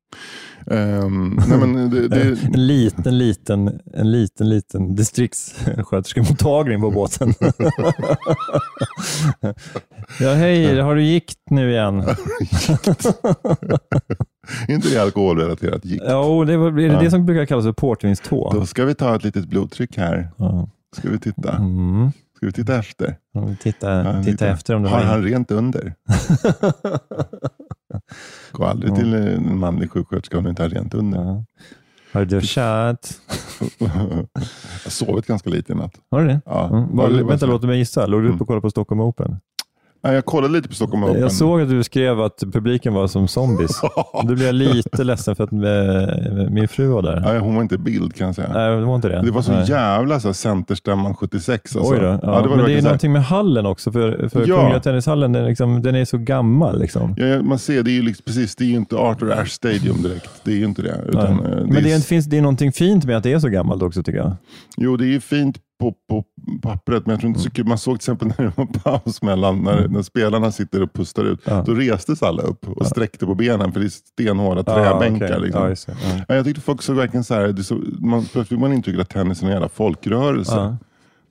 Ehm, nej men det, det,
Eh, En liten, liten, en liten, liten distriktssköterskemottagning på båten. ja, hej, har du gikt nu igen?
är inte det alkoholrelaterat? Gick.
Ja, och det var- är det, det som brukar kallas för portvinstå.
Då ska vi ta ett litet blodtryck här.
Ja.
Ska vi titta,
Mm.
ska vi titta efter?
Om vi
Ja,
tittar, tittar efter om det
Har
var...
han rent under? Gå aldrig till en manlig sjuksköterska om du inte har rent under.
Ja. Har du duschat?
Jag har sovit ganska lite i natt.
Har du det?
Ja.
Mm. Bara,
Ja, det var
vänta,
så.
Mm. låt mig gissa. Låg du uppe och kollade på Stockholm Open?
Ja, Jag kollade lite på Stockholm Open.
Jag såg att du skrev att publiken var som zombies. Då blev jag lite ledsen för att eh, min fru var där.
Nej, hon var inte i bild kan jag säga.
Nej, det var inte det.
Det var så
Nej.
jävla så här, Centerstämman 76. Alltså.
Oj då. Ja.
det var
men det är
verkligen
ju
så här-
någonting med hallen också. För, för
Ja.
Kungliga Tennishallen, den, är liksom, den är så gammal. Liksom.
Ja, ja, man ser, det är ju liksom, precis, det är ju inte Arthur Ashe Stadium direkt. Det är ju inte det. Utan, eh,
Men det
är,
är, finns, det är någonting fint med att det är så gammalt också tycker jag.
Jo, det är ju fint på, på pappret, men jag tror inte så
Mm.
kul. Man såg till exempel när det var paus mellan, när, när spelarna sitter och pustar ut.
Ja.
Då restes alla upp och sträckte på benen, för det är stenhårda
Ja,
träbänkar.
Ah, okej.
Liksom.
Ja, just det. Ja.
Ja, jag tyckte folk såg verkligen så här, det så, man, plötsligt fick man intrycket att tennis är liksom. en jävla folkrörelse.
Ja.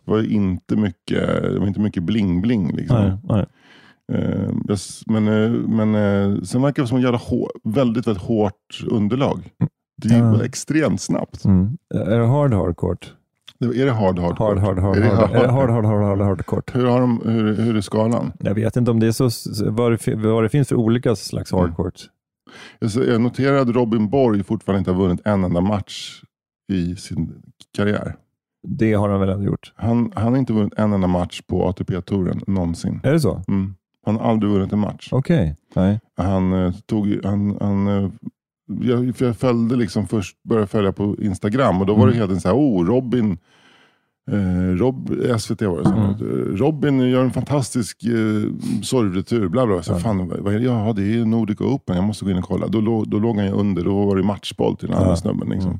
Det var ju inte mycket det var inte mycket bling-bling. Liksom.
Nej, nej.
Eh, jag s- men, eh, men eh, sen verkar det som en jävla hår, väldigt, väldigt hårt underlag. Det är ju
Ja.
extremt snabbt.
Mm. Är det hard hardcourt?
Det- Är det hard, hard,
Hard, hard, hard,
Är det
hard,
hard-
är det hard, hard, hard, hard, hard court.
Hur, har de, hur, hur är skalan?
Jag vet inte om det är så, så- vad det, fi- vad det finns för olika slags
Mm.
hardcourt.
Jag ser- Jag noterar att Robin Borg fortfarande inte har vunnit en enda match i sin karriär.
Det har han väl ändå gjort?
Han, han har inte vunnit en enda match på ATP-touren någonsin.
Är det så?
Mm. Han har aldrig vunnit en match.
Okej. Nej.
Han eh, tog, han, han, eh, jag, för jag följde liksom först, började följa på Instagram och då var det
Mm.
hela tiden så här, oh Robin, eh, Rob, SVT var det som,
Mm.
eh, Robin gör en fantastisk eh, sorgretur, bla bla. Så,
Ja.
Fan, vad vad är det? Ja, det är Nordic Open, jag måste gå in och kolla. Då, låg- då låg han ju under, då var det matchboll till den andra
Ja.
snubben. Liksom.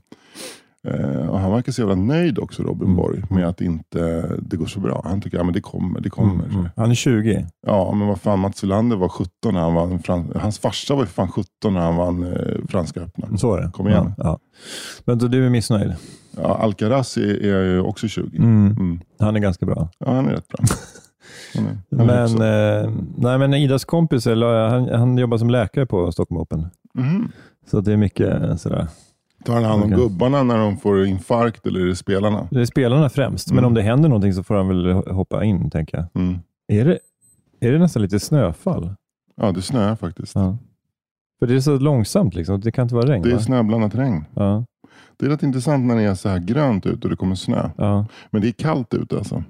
Eh, och han verkar så jävla nöjd också, Robin
Mm.
Borg, med att inte, det går så bra. Han tycker, ja men det kommer, det kommer.
Mm. Han är 20.
Ja, men vad fan, Mats Ylander var 17 när han vann. Frans- Hans farsa var ju fan 17 när han vann eh, Franska öppna.
Så är det. Mm.
Kom igen.
Ja. Ja. Men då, du är missnöjd?
Ja, Alcaraz är, är ju också 20.
Mm.
Mm.
Han är ganska bra.
Ja, han är rätt bra. Han är, han är
Men,
hyfsad.
eh, nej, men Idas kompis, eller, han, han jobbar som läkare på Stockholm Open.
Mhm.
Så det är mycket eh, sådär.
Tar han hand om
eh, Okej.
gubbarna när de får infarkt eller är det spelarna?
Det är spelarna främst, men
Mm.
om det händer någonting så får han väl hoppa in, tänker jag.
Mm.
Är det, är det nästan lite snöfall?
Ja, det snöar faktiskt.
Ja. För det är så långsamt, liksom. det kan inte vara regn.
Det är
va?
snöblandat regn.
ja,
Det är rätt intressant när det är så här grönt ute och det kommer snö.
ja.
Men det är kallt ute alltså.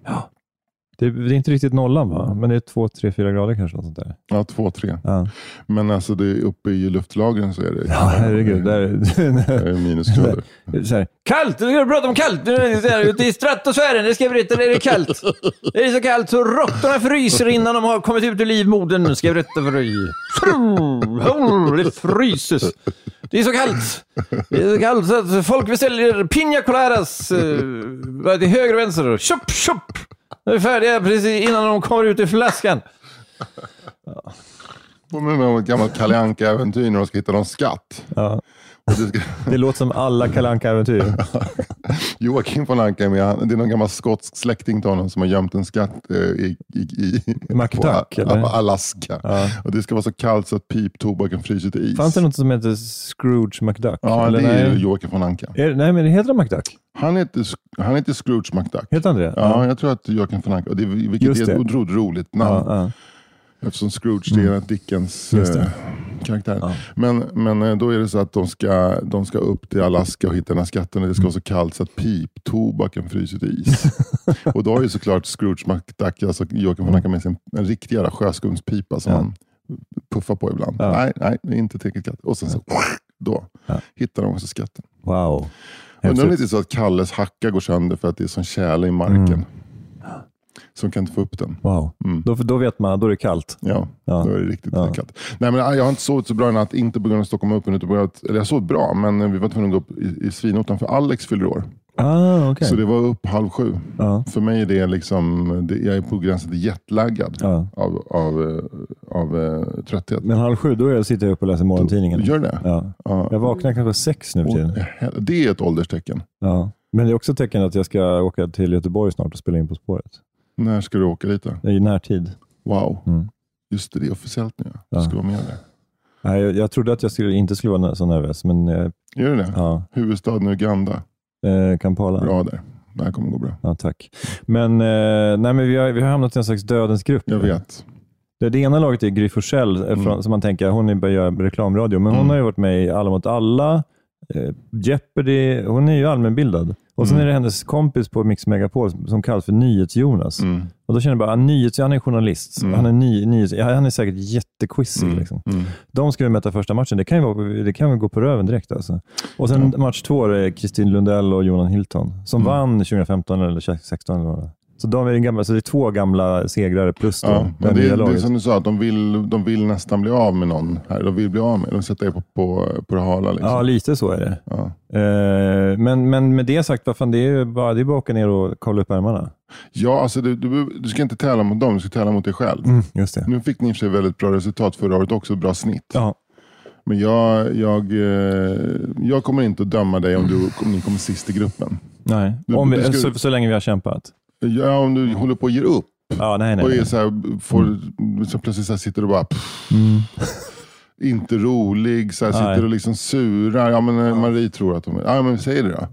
Det, det är inte riktigt nollan, va? men det är två, tre, fyra grader kanske. Något sånt där.
Ja, två, tre.
Ja.
Men alltså det är uppe i luftlagren så är det,
Ja, herregud. Där,
det är minusgrader.
så här.
Kallt! Nu ska du prata om kallt! Nu är det så här, Ute i stratosfären, det ska jag berätta, där är det kallt. Det är så kallt så råttorna fryser innan de har kommit ut ur livmodern, ska jag berätta för dig. Fru, hur, Det fryses. Det är så kallt. Det är så kallt så att folk beställer pina coladas eh, till höger och vänster. Tjopp, tjopp! De är färdiga precis innan de kommer ut ur flaskan.
Påminner om ett gammalt Kalle Anka-äventyr när de ska hitta någon skatt.
Ja.
Och det ska,
Det låter som alla Kalle Anka-äventyr.
Joakim von Anka är med. Han- Det är någon gammal skotsk släkting till honom som har gömt en skatt eh, i, i, i
McDuck,
på,
eller?
på Alaska.
Ja.
Och det ska vara så kallt så att piptobaken fryser till is.
Fanns det något som hette Scrooge McDuck?
Ja, det är ju
nej?
Joakim von Anka.
Är, nej, men heter han McDuck?
Han heter, Sc- han heter Scrooge McDuck.
Heter han det?
Ja, jag tror att Joakim von Anka, och det, vilket
Just
är ett
det.
otroligt roligt
Ja,
namn.
ja.
Eftersom Scrooge det är Dickens
Mm. Just det.
eh, karaktär. Men, men eh, då är det så att de ska, de ska upp till Alaska och hitta den här skatten och det ska
Mm.
vara så kallt så att piptobaken fryser till is. och då har ju såklart Scrooge McDuck, alltså Joakim von Anka med sig en, en riktig jävla sjöskumspipa som
Ja.
han puffar på ibland.
Ja.
Nej, nej, det är inte tillräckligt kallt. Och sen så, då hittar de också skatten.
Wow.
Undrar om det
Häftigt.
inte är så att Kalles hacka går sönder för att det är sån tjäle i marken.
Mm.
Så de kan inte få upp den.
Wow. Då, då vet man, då är det kallt.
Ja,
Ja.
då är det riktigt
Ja.
kallt. Nej, men äh, jag har inte sovit så bra i natt, inte på grund av Stockholm Open, utan på grund av att, eller jag sov bra, men vi var tvungna att gå upp i, i svinotan, för Alex fyller år.
Ah, okej.
Så det var upp halv sju.
Ja.
För mig är det liksom, det, jag är på gränsen till jetlaggad
Ja.
av, av, eh, av eh, trötthet.
Men halv sju, då är jag- sitter jag uppe och läser morgontidningen.
Gör det?
Ja.
Ja.
Jag vaknar kanske sex nu för
Och,
tiden.
eh, det är ett ålderstecken.
Ja. Men det är också ett tecken att jag ska åka till Göteborg snart och spela in På spåret.
När ska du åka dit då?
I närtid.
Wow.
Mm.
Just det, det är officiellt nu. Du
Ja.
ska vara med där.
Nej, jag, jag trodde att jag skulle, inte skulle vara så nervös, men eh,
Gör du det?
ja.
Huvudstaden Uganda.
Eh, Kampala.
Bra där. Det här kommer gå bra.
Ja, tack. Men, eh, nej, men vi, har, vi har hamnat i en slags dödens grupp.
Jag vet.
Det, det ena laget är Gry Forssell, eh, från- som man tänker hon är bara gör reklamradio, men hon
Mm.
har ju varit med i Alla mot alla, eh, Jeopardy,
Mm.
hon är ju allmänbildad. Och sen är det hennes kompis på Mix Megapol som- som kallas för Nyhets-Jonas.
Mm.
Och Och då känner jag bara, "Ah, nyhets, han är journalist.
Mm.
Han, är ny, nyhets, ja, han är säkert jättequizig. Liksom.
Mm.
De ska vi möta första matchen. Det kan ju, vara, det kan väl gå på röven direkt. Alltså. Och sen match två det är Kristin Lundell och Jonan Hilton som
Mm.
vann 2015 eller 2016. Eller vad det var. så, de är gamla, så det är två gamla segrare plus då,
Ja,
det
men det,
nya
är, det är
laget.
som du sa, att de vill, de vill nästan bli av med någon här. De vill bli av med, de sätter er på, på, på det hala. Liksom.
Ja, lite så är det.
Ja.
Eh, men, men med det sagt, vad fan, det är ju bara, det är bara att åka ner och kolla upp ärmarna.
Ja, alltså du, du, du ska inte tävla mot dem, du ska tävla mot dig
Mm.
själv.
Just det.
Nu fick ni i och för sig väldigt bra resultat förra året också, bra snitt.
Ja.
Men jag, jag, eh, jag kommer inte att döma dig om, du, om ni kommer sist i gruppen.
Nej.
Du-
Om vi,
du skulle-
så, så länge vi har kämpat.
Ja, om du håller på och ger upp
Ja, nej, nej.
och är
nej. Mm.
så här, får, så plötsligt så här sitter du bara pff, inte rolig, så här,
Nej.
sitter och liksom surar. Ja, men, eh, Marie tror att hon Ja, men säg det då.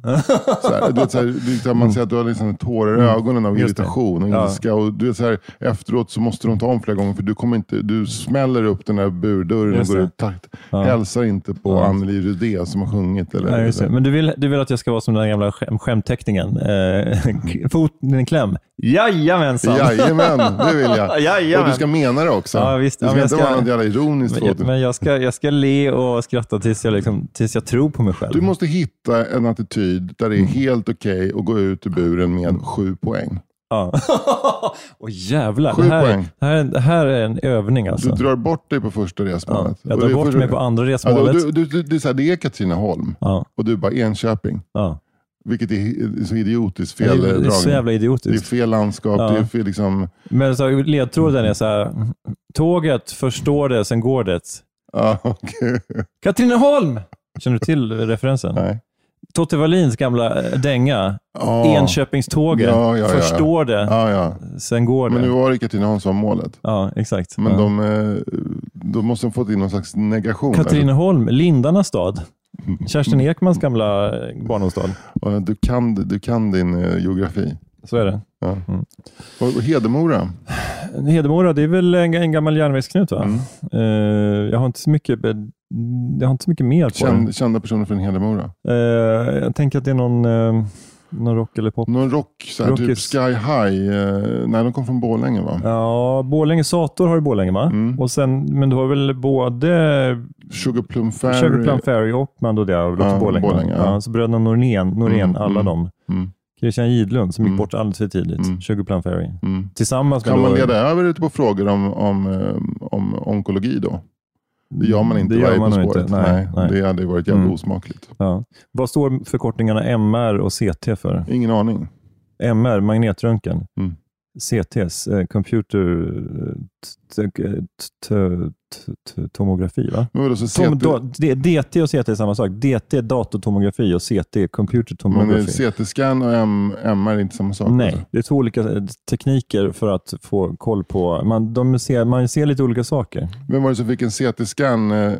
så här, du vet, så här, du, så här, man ser att du har liksom tårar i ögonen av
Mm. Just det.
irritation och
Ja.
ilska. Och du vet, så här, efteråt så måste de ta om flera gånger för du, kommer inte, du smäller upp den där burdörren
Just
och går
det.
ut takt. Hälsar inte på
Ja.
Anneli Rudé som har sjungit. Eller,
Nej, just det. Men du vill, du vill att jag ska vara som den där gamla skäm, skämtteckningen? Eh, k- foten i en kläm? Jajamensan!
Jajamän, det vill jag.
Jajamän.
Och du ska mena det också.
Ja, visst.
Det
Ja,
ska
men jag
inte
ska-
vara något jävla ironiskt.
Men, jag,
åt det.
men jag, ska, jag ska le och skratta tills jag, liksom, tills jag tror på mig själv.
Du måste hitta en attityd där det
Mm.
är helt okej att gå ut ur buren med sju poäng.
Ja. Åh jävlar,
Sju
det här,
poäng.
det, här är, en- det här är en övning
Du
alltså.
drar bort dig på första
Ja,
resmålet.
jag
Och det
tar
är
bort
första-
mig på andra
Ja, då-
resmålet.
du, du, du, det, är så här, det är Katrineholm
Ja,
och du bara Enköping.
ja.
Vilket är så idiotiskt
Det, är,
fel
det är så
dragning.
jävla
det är
idiotiskt.
fel landskap.
Ja.
Det är fel, liksom,
Men så, här, ledtråden är så här, tåget förstår det, sen går det.
ja, okej.
Katrineholm! Känner du till referensen?
Nej.
Totte Wallins gamla eh, dänga,
Ja.
Enköpingståget,
Ja, ja, ja, ja.
förstår det,
Ja, ja.
sen går det.
Men nu var det Katrineholm som var målet.
Ja, exakt.
Men
ja.
de, eh, de måste ha fått in någon slags negation. där. Mm.
Katrineholm, Lindarnas stad. Kerstin Ekmans gamla eh, barndomsstad.
Ja, Du kan, du kan din eh, geografi.
Så är det.
Ja. Och och Hedemora.
Hedemora, det är väl en, en gammal järnvägsknut
Mm.
va? Eh, jag, har inte så mycket, be- jag har inte så mycket mer på
Känd, kända personer från Hedemora.
den. Eh, jag tänker att det är någon, eh, någon rock eller pop.
Någon rock, så här, typ
Rockis.
Sky High. Eh, nej, de kom från Borlänge va?
Ja, Borlänge Sator har du i Borlänge va?
Mm.
Och sen, men du har väl både
Sugar Plum Fairy.
Sugar Plum Fairy och Mando Diao,
Ja,
ja, Borlänge.
Borlänge, ja.
ja. så bröderna Norén, Norén
Mm,
alla
mm.
de.
Mm,
Christian Gidlund som
Mm.
gick bort alldeles för tidigt.
Mm.
Sugar Plum Fairy.
mm.
Tillsammans med...
Kan man
då-
leda över det på frågor om, om, eh, om onkologi då? Det gör man inte
Det gör
varje
man
På
nog
spåret.
inte. Nej, nej.
Det hade varit jävligt
Mm.
osmakligt.
Ja. Vad står förkortningarna MR och CT för?
Ingen aning.
MR, magnetröntgen.
Mm.
CTs, eh, computer t- t- t- t- tomografi va?
Men vadå, så
Tom,
CT
då, D- DT och CT är samma sak. DT är datortomografi och CT är
men eh,
computertomografi.
CT-scan och M, MR är inte samma sak?
Nej,
alltså?
det är två olika eh, tekniker för att få koll på... Man, de ser, man ser lite olika saker.
Vem var det som fick en CT-scan eh,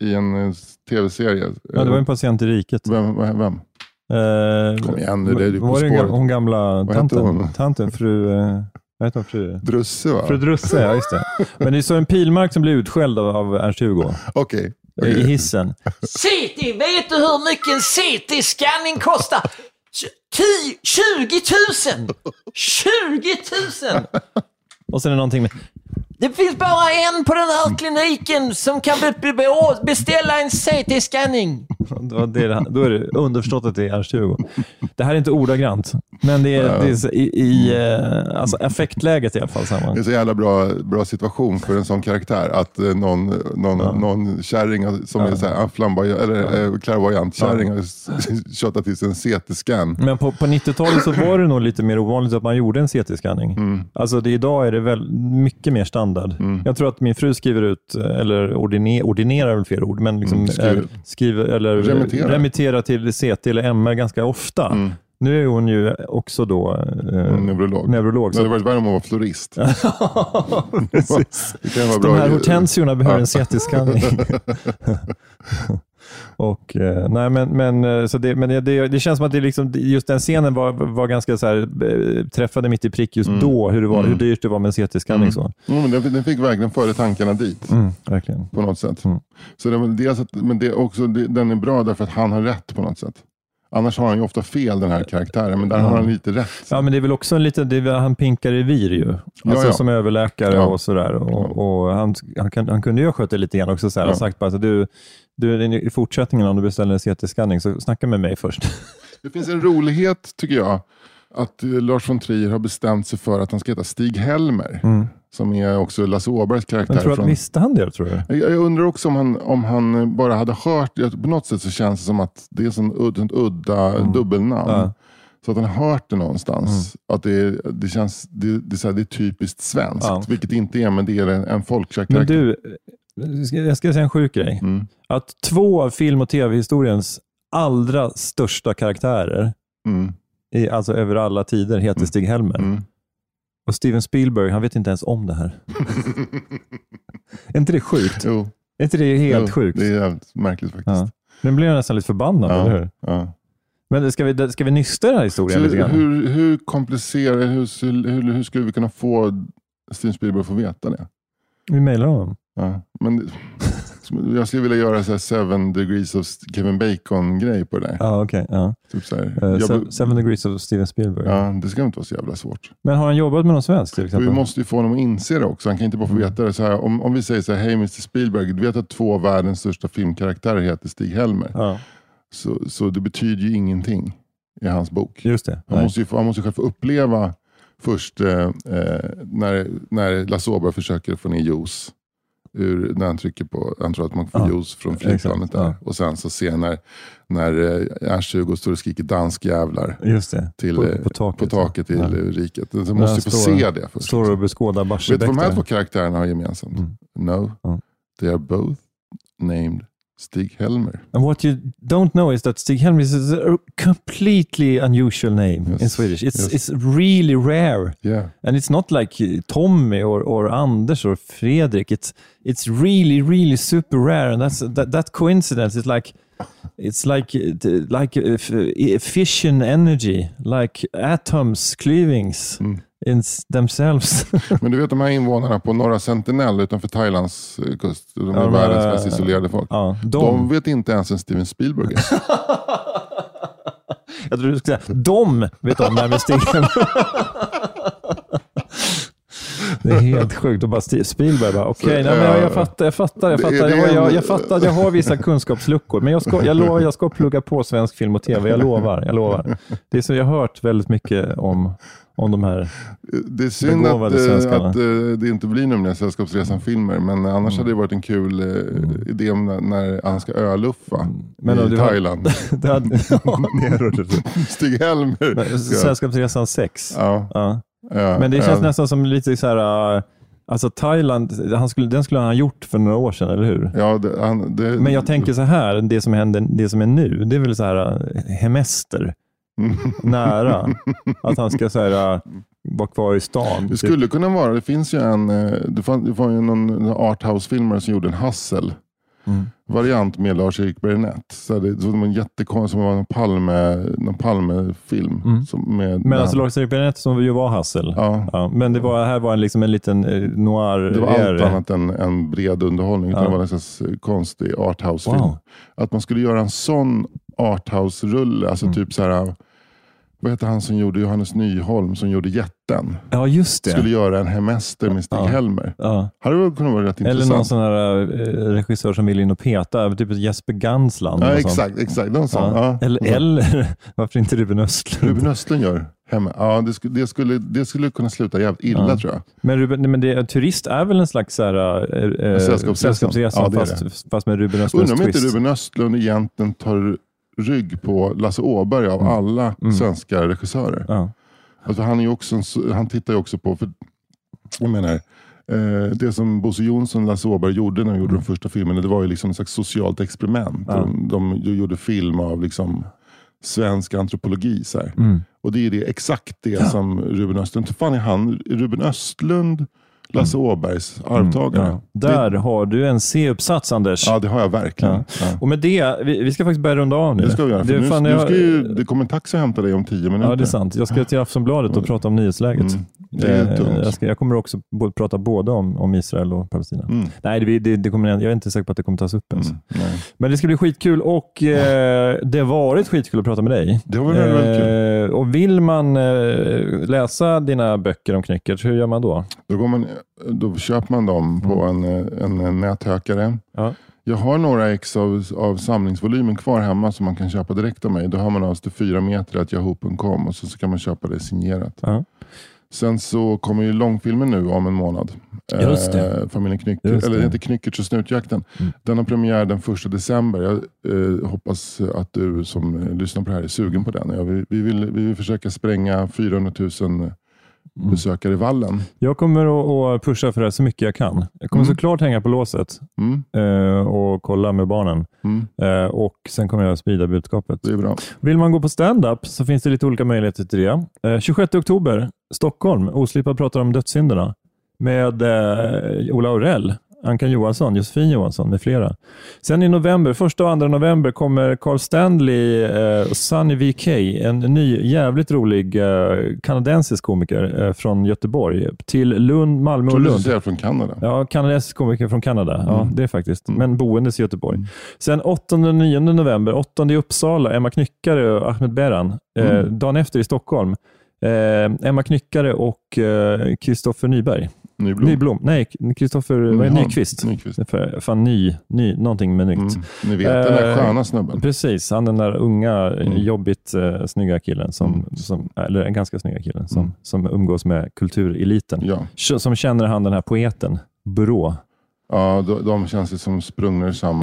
i en eh, tv-serie?
Ja, det var en patient i riket.
vem, vem, vem?
Eh,
Kom igen nu, det är du på
var det
spåret.
gam- hon gamla
Vad hette
tanten?
hon?
Tanten, fru... Eh, vad heter hon? Fru,
Drusse va?
fru Drusse, ja just det. Men det är så en pilmark som blir utskälld av, av Ernst-Hugo
Okej.
eh, i hissen.
CT, vet du hur mycket en CT-scanning kostar? Tj- ti- 20 000! 20 000!
Och sen är det någonting med...
Det finns bara en på den här kliniken som kan be- be- be- beställa en CT-scanning.
Det var det, det- då är det underförstått att det är Ernst-Hugo. Det här är inte ordagrant, men det är, det är så- i, i eh, alltså affektläget i alla fall samma.
Det är så jävla bra, bra situation för en sån karaktär. Att eh, någon, någon, någon kärring som är så här, ah, flamboyant, eller eh, klärvoajant kärring har s- tjatat till sig en CT-scan.
Men på, på 90-talet så var det nog lite mer ovanligt att man gjorde en CT-skanning.
Mm.
Alltså det, idag är det väl mycket mer standard. Jag tror att min fru skriver ut, eh, eller ordine, ordinerar är väl fel ord, men liksom,
Mm, skriver.
eh, skriver, eller
Remitterar. Mm.
remitterar till CT eller MR ganska ofta. Nu är hon ju också då eh,
Neurolog.
neurolog.
Det hade
Så.
varit värre om hon var florist.
Precis.
Det kan vara bra.
De här
i-
hortensiorna behöver
Ja.
en CT-skanning. Och, eh, nej, men, men, eh, så det, men det- det, det känns som att det liksom, just den scenen var, var ganska så här, eh, träffade mitt i prick
Mm.
just då, hur, det var, hur dyrt det var med en CT-skanning. Så.
Jo, men den, den fick verkligen föra tankarna dit.
Mm, verkligen.
På något sätt.
Mm.
Så det, var dels att, men det är också, det, den är bra därför att han har rätt på något sätt. Annars har han ju ofta fel den här karaktären, men där har han lite rätt.
Ja, men det är väl också en liten, det är, väl- han pinkar revir ju. Alltså
ja.
som överläkare
Ja.
och sådär. Och, och han, han, kan, han kunde ju ha skött det lite grann också. Så här, och sagt bara, så du, du, i fortsättningen om du beställer en CT-scanning så snacka med mig först.
Det finns en rolighet, tycker jag, att eh, Lars von Trier har bestämt sig för att han ska heta Stig-Helmer. Som är också Lasse Åbergs karaktär.
Mm. Men tror du att,
från...
visste han det tror du?
Jag- Jag undrar också om han, om han bara hade hört, jag- på något sätt så känns det som att det är sån udd, sånt udda
Mm.
dubbelnamn. Så att han har hört det någonstans.
Mm.
Att det, är- det, känns, det, det, är så här, det är typiskt svenskt,
Ja.
vilket det inte är, men det är en, en folkkär
Men
karaktär.
du, jag ska- jag ska säga en sjuk grej.
Mm.
Att två av film och tv-historiens allra största karaktärer,
Mm.
i, alltså över alla tider, heter Stig-Helmer.
Mm.
Och Steven Spielberg, han vet inte ens om det här. är inte det sjukt?
Jo,
Är inte det helt
jo,
sjukt?
Det är jävligt märkligt
Ja.
faktiskt.
Nu blir jag nästan lite förbannad,
Ja,
eller hur?
ja.
Men ska vi, ska vi nysta den här
Så
historien lite
hur,
grann?
hur, hur komplicerat, hur, hur, hur skulle vi kunna få Steven Spielberg att få veta det?
Vi mejlar honom.
Ja, men det- som- jag skulle vilja göra så här seven degrees of Kevin Bacon-grej på det där.
Ja, okej. ja.
Typ så här.
Eh,
jag,
Se-
be-
Seven Degrees of Steven Spielberg.
ja, det ska inte vara så jävla svårt.
Men har han jobbat med någon svensk till
För vi
exempel?
måste ju få honom att inse det också. Han kan inte bara få
Mm.
veta det. Så här, om, om vi säger så här, hej Mr Spielberg, du vet att två av världens största filmkaraktärer heter Stig-Helmer.
Ja,
Så, så det betyder ju ingenting i hans bok.
just det.
Han
Nej.
måste, ju få, han måste ju själv få uppleva först eh, eh, när, när Lasse Åberg försöker få ner juice. Ur, när han trycker på, han tror att man får
Ja,
juice från
exakt,
flygplanet där.
ja.
Och sen så ser när, när eh, R20 står och skriker dansk jävlar
Just det.
till,
på,
eh,
på taket.
på taket till
Ja.
eh, riket. Så
Men
måste
han
ju få
står-
se det först.
Står och beskådar
Vet du
Barsebäck.
vad de här
där.
två karaktärerna har gemensamt?
Mm.
No,
Ja.
they are both named Stig-Helmer.
And what you don't know is that Stig-Helmer is a completely unusual name
Yes,
in Swedish. It's,
yes.
it's really rare.
Yeah.
And it's not like eh, Tommy or, or Anders or Fredrik. It's it's really really super rare, and that's that, that coincidence is like it's like uh, the- like uh, f- uh, fission energy, like atoms cleavings
Mm.
in s- themselves.
Men du vet de här invånarna på norra Sentinel utanför Thailands eh, kust. De är
de
världens
här,
mest
eh,
isolerade folk.
ja, de,
De vet inte ens en Steven Spielberg är.
jag tror du skulle säga de vet om det här med Stig-Helmer. Det är helt sjukt. Och bara Steve Spielberg bara, okej, nej, men jag, jag fattar, jag fattar, jag
Det är-
fattar.
det är
Jag, jag,
en-
jag fattar att jag har vissa kunskapsluckor, men jag ska, jag, lovar, jag ska plugga på svensk film och tv, jag lovar. Jag lovar. Det är så, jag har hört väldigt mycket om, om de här.
Det är synd att,
Begåvade
eh,
svenskarna.
att eh, det inte blir nämligen Sällskapsresan-filmer. Men annars
Mm.
hade det varit en kul eh, idé om när, när han ska öluffa
Mm. Men om
i
du har-
Thailand.
Det hade,
Stig-Helmer.
Sällskapsresan 6.
Ja,
Ja.
ja,
eh, Men det känns
ja.
nästan som lite så här, äh, alltså Thailand, han skulle, den skulle han ha gjort för några år sedan, eller hur?
Ja, det, han, det,
Men jag tänker så här, det som, händer, det som är nu, det är väl så här äh, hemester.
Mm.
Nära. Att han ska så här, äh, vara kvar i stan. typ.
Det skulle kunna vara, det finns ju en, eh, det fann- det var ju någon arthouse-filmare som gjorde en hassel.
Mm.
Variant med Lars-Erik Bernett. Så det så det var en jättekonstig, som var en Palme, någon Palme-film.
Mm.
Som med,
Men alltså Lars-Erik Bernett som ju var Hassel.
Ja.
men det var, här var en, liksom en liten eh, noir.
det var allt
era.
annat än en bred underhållning. Utan
Ja.
Det var en slags eh, konstig arthouse-film.
Wow.
Att man skulle göra en sån arthouse-rulle. Alltså
Mm.
typ så här, vad heter han som gjorde Johannes Nyholm som gjorde Jätten?
Ja, just det.
Skulle göra en hemester med Stig-Helmer.
Ja.
Hade väl kunnat vara rätt
Eller
intressant.
någon sån här eh, regissör som vill in och peta, typ Jesper Gansland.
Ja,
och sånt.
exakt. exakt någon sån.
Ja.
Ja.
Eller, eller varför inte Ruben Östlund?
Ruben Östlund gör hemma. Ja, det, skulle, det, skulle, det skulle kunna sluta jävligt illa tror jag.
Men, Ruben, nej, men det, turist är väl en slags så här, eh, eh,
Sällskapsresan.
sällskapsresa,
Ja, det är
fast, fast med Ruben Östlunds
Undrar om
twist.
inte Ruben Östlund egentligen tar rygg på Lasse Åberg av alla svenska regissörer.
Mm. Ja.
Alltså, han, är ju också en, s- han tittar ju också på, för, jag menar, eh, det som Bosse Jonsson och Lasse Åberg gjorde när de
Mm.
gjorde de första filmerna, det var ju liksom ett slags socialt experiment. De, de ju- gjorde film av liksom svensk antropologi. Så
Mm.
här. Och det är det, exakt det som Ruben Östlund... Fan är han, Ruben Östlund Lasse Åbergs Arvtagare.
Mm. Ja. Där har du en C-uppsats, Anders.
Det, ja, det har jag verkligen.
Ja.
Ja.
Och med det, vi, vi ska faktiskt börja runda av nu.
Det ska vi göra. För
Det är
nu,
fan,
nu
jag-
ska ju, det kommer en taxi och hämta dig om tio minuter.
Ja, det är sant. Jag ska till Aftonbladet och prata om nyhetsläget.
Mm. Det är
Eh,
tungt.
jag, ska, jag kommer också bo- prata både om, om Israel och Palestina.
Mm.
Nej, det, det, det kommer, jag är inte säker på att det kommer tas upp ens.
Mm. Nej.
Men det ska bli skitkul och eh, det har varit skitkul att prata med dig.
Det var väldigt, väldigt kul.
Eh, och vill man eh, läsa dina böcker om Knyckert, hur gör man då?
Då, går man, då köper man dem på en, en, en näthökare.
Mm. Ja.
Jag har några ex av, av samlingsvolymen kvar hemma som man kan köpa direkt av mig. Då har man av sig till fyra meter att yahoo.com och så, så kan man köpa det signerat.
Ja.
Sen så kommer ju långfilmen nu om en månad.
Just det.
Eh, Familjen Knyckert,
Just
eller
det. Mm.
det heter Knyckert och snutjakten. Den har premiär den första december. Jag eh, hoppas att du som eh, lyssnar på det här är sugen på den. Jag vill, vi, vill, vi vill försöka spränga 400 000
Mm.
besökare i vallen.
Jag kommer att- att pusha för det här så mycket jag kan. Jag kommer såklart hänga på låset
Mm,
eh, och kolla med barnen.
mm,
Eh, och Sen kommer jag sprida budskapet.
det är bra.
Vill man gå på stand-up så finns det lite olika möjligheter till det. Eh, 26 oktober, Stockholm. Oslipad pratar om dödssynderna med eh, Ola Aurell, Ankan Johansson, Josefin Johansson med flera. Sen i november, första och andra november kommer Carl Stanley eh, och Sunny VK, en ny jävligt rolig eh, kanadensisk komiker eh, från Göteborg, till Lund, Malmö och
Tror du
Lund.
är från Kanada?
Ja, kanadensisk komiker från Kanada. Ja,
Mm.
det är faktiskt.
Mm.
Men boendes i Göteborg. Sen 8 och 9 november, 8 i Uppsala, Emma Knyckare och Ahmed Beran. Eh,
Mm.
dagen efter i Stockholm. Eh, Emma Knyckare och eh, Kristoffer Nyberg.
Nyblom?
Nyblom. Nej, Kristoffer vad är det?
Nyholm.
Nyqvist.
Mm. Nyqvist.
För- Fan, ny, ny, någonting med nytt.
Mm. Ni vet, den där
Eh,
sköna snubben.
Precis, han den där unga,
Mm.
jobbigt eh, snygga killen, som,
Mm.
som, eller en ganska snygga killen, som,
Mm.
som umgås med kultureliten.
Ja,
Som känner han den här poeten, Brå.
ja de, de känns ju som sprungna ur samma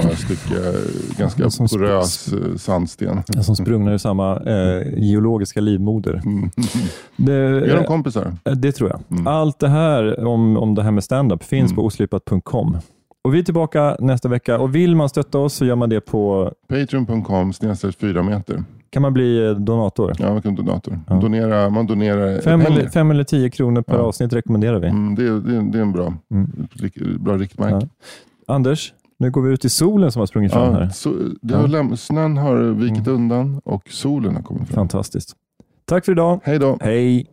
stycke eh, ganska
Som sp-
porös eh, sandsten.
Den som sprungna ur samma eh, geologiska livmoder.
Mm. Är de
Det,
kompisar?
eh, det tror jag.
Mm.
Allt det här om, om det här med stand-up finns
Mm.
på oslipat.com. Och Vi är tillbaka nästa vecka och vill man stötta oss så gör man det på
Patreon.com snedstreck 4 meter.
kan man bli eh, donator.
Ja, vilken donator.
Ja.
Donera, man donerar
Fem
pengar.
eller, fem eller tio kronor per
Ja.
avsnitt rekommenderar vi.
Mm, det, är- det, är- det är en bra,
Mm.
rik- bra riktmärke.
Anders, nu går vi ut i solen som har sprungit fram
Ja.
här.
så, det
Ja.
har
Mm.
läm- snön har vikit undan och solen har kommit fram.
Fantastiskt. Tack för idag.
Hej då!
Hej!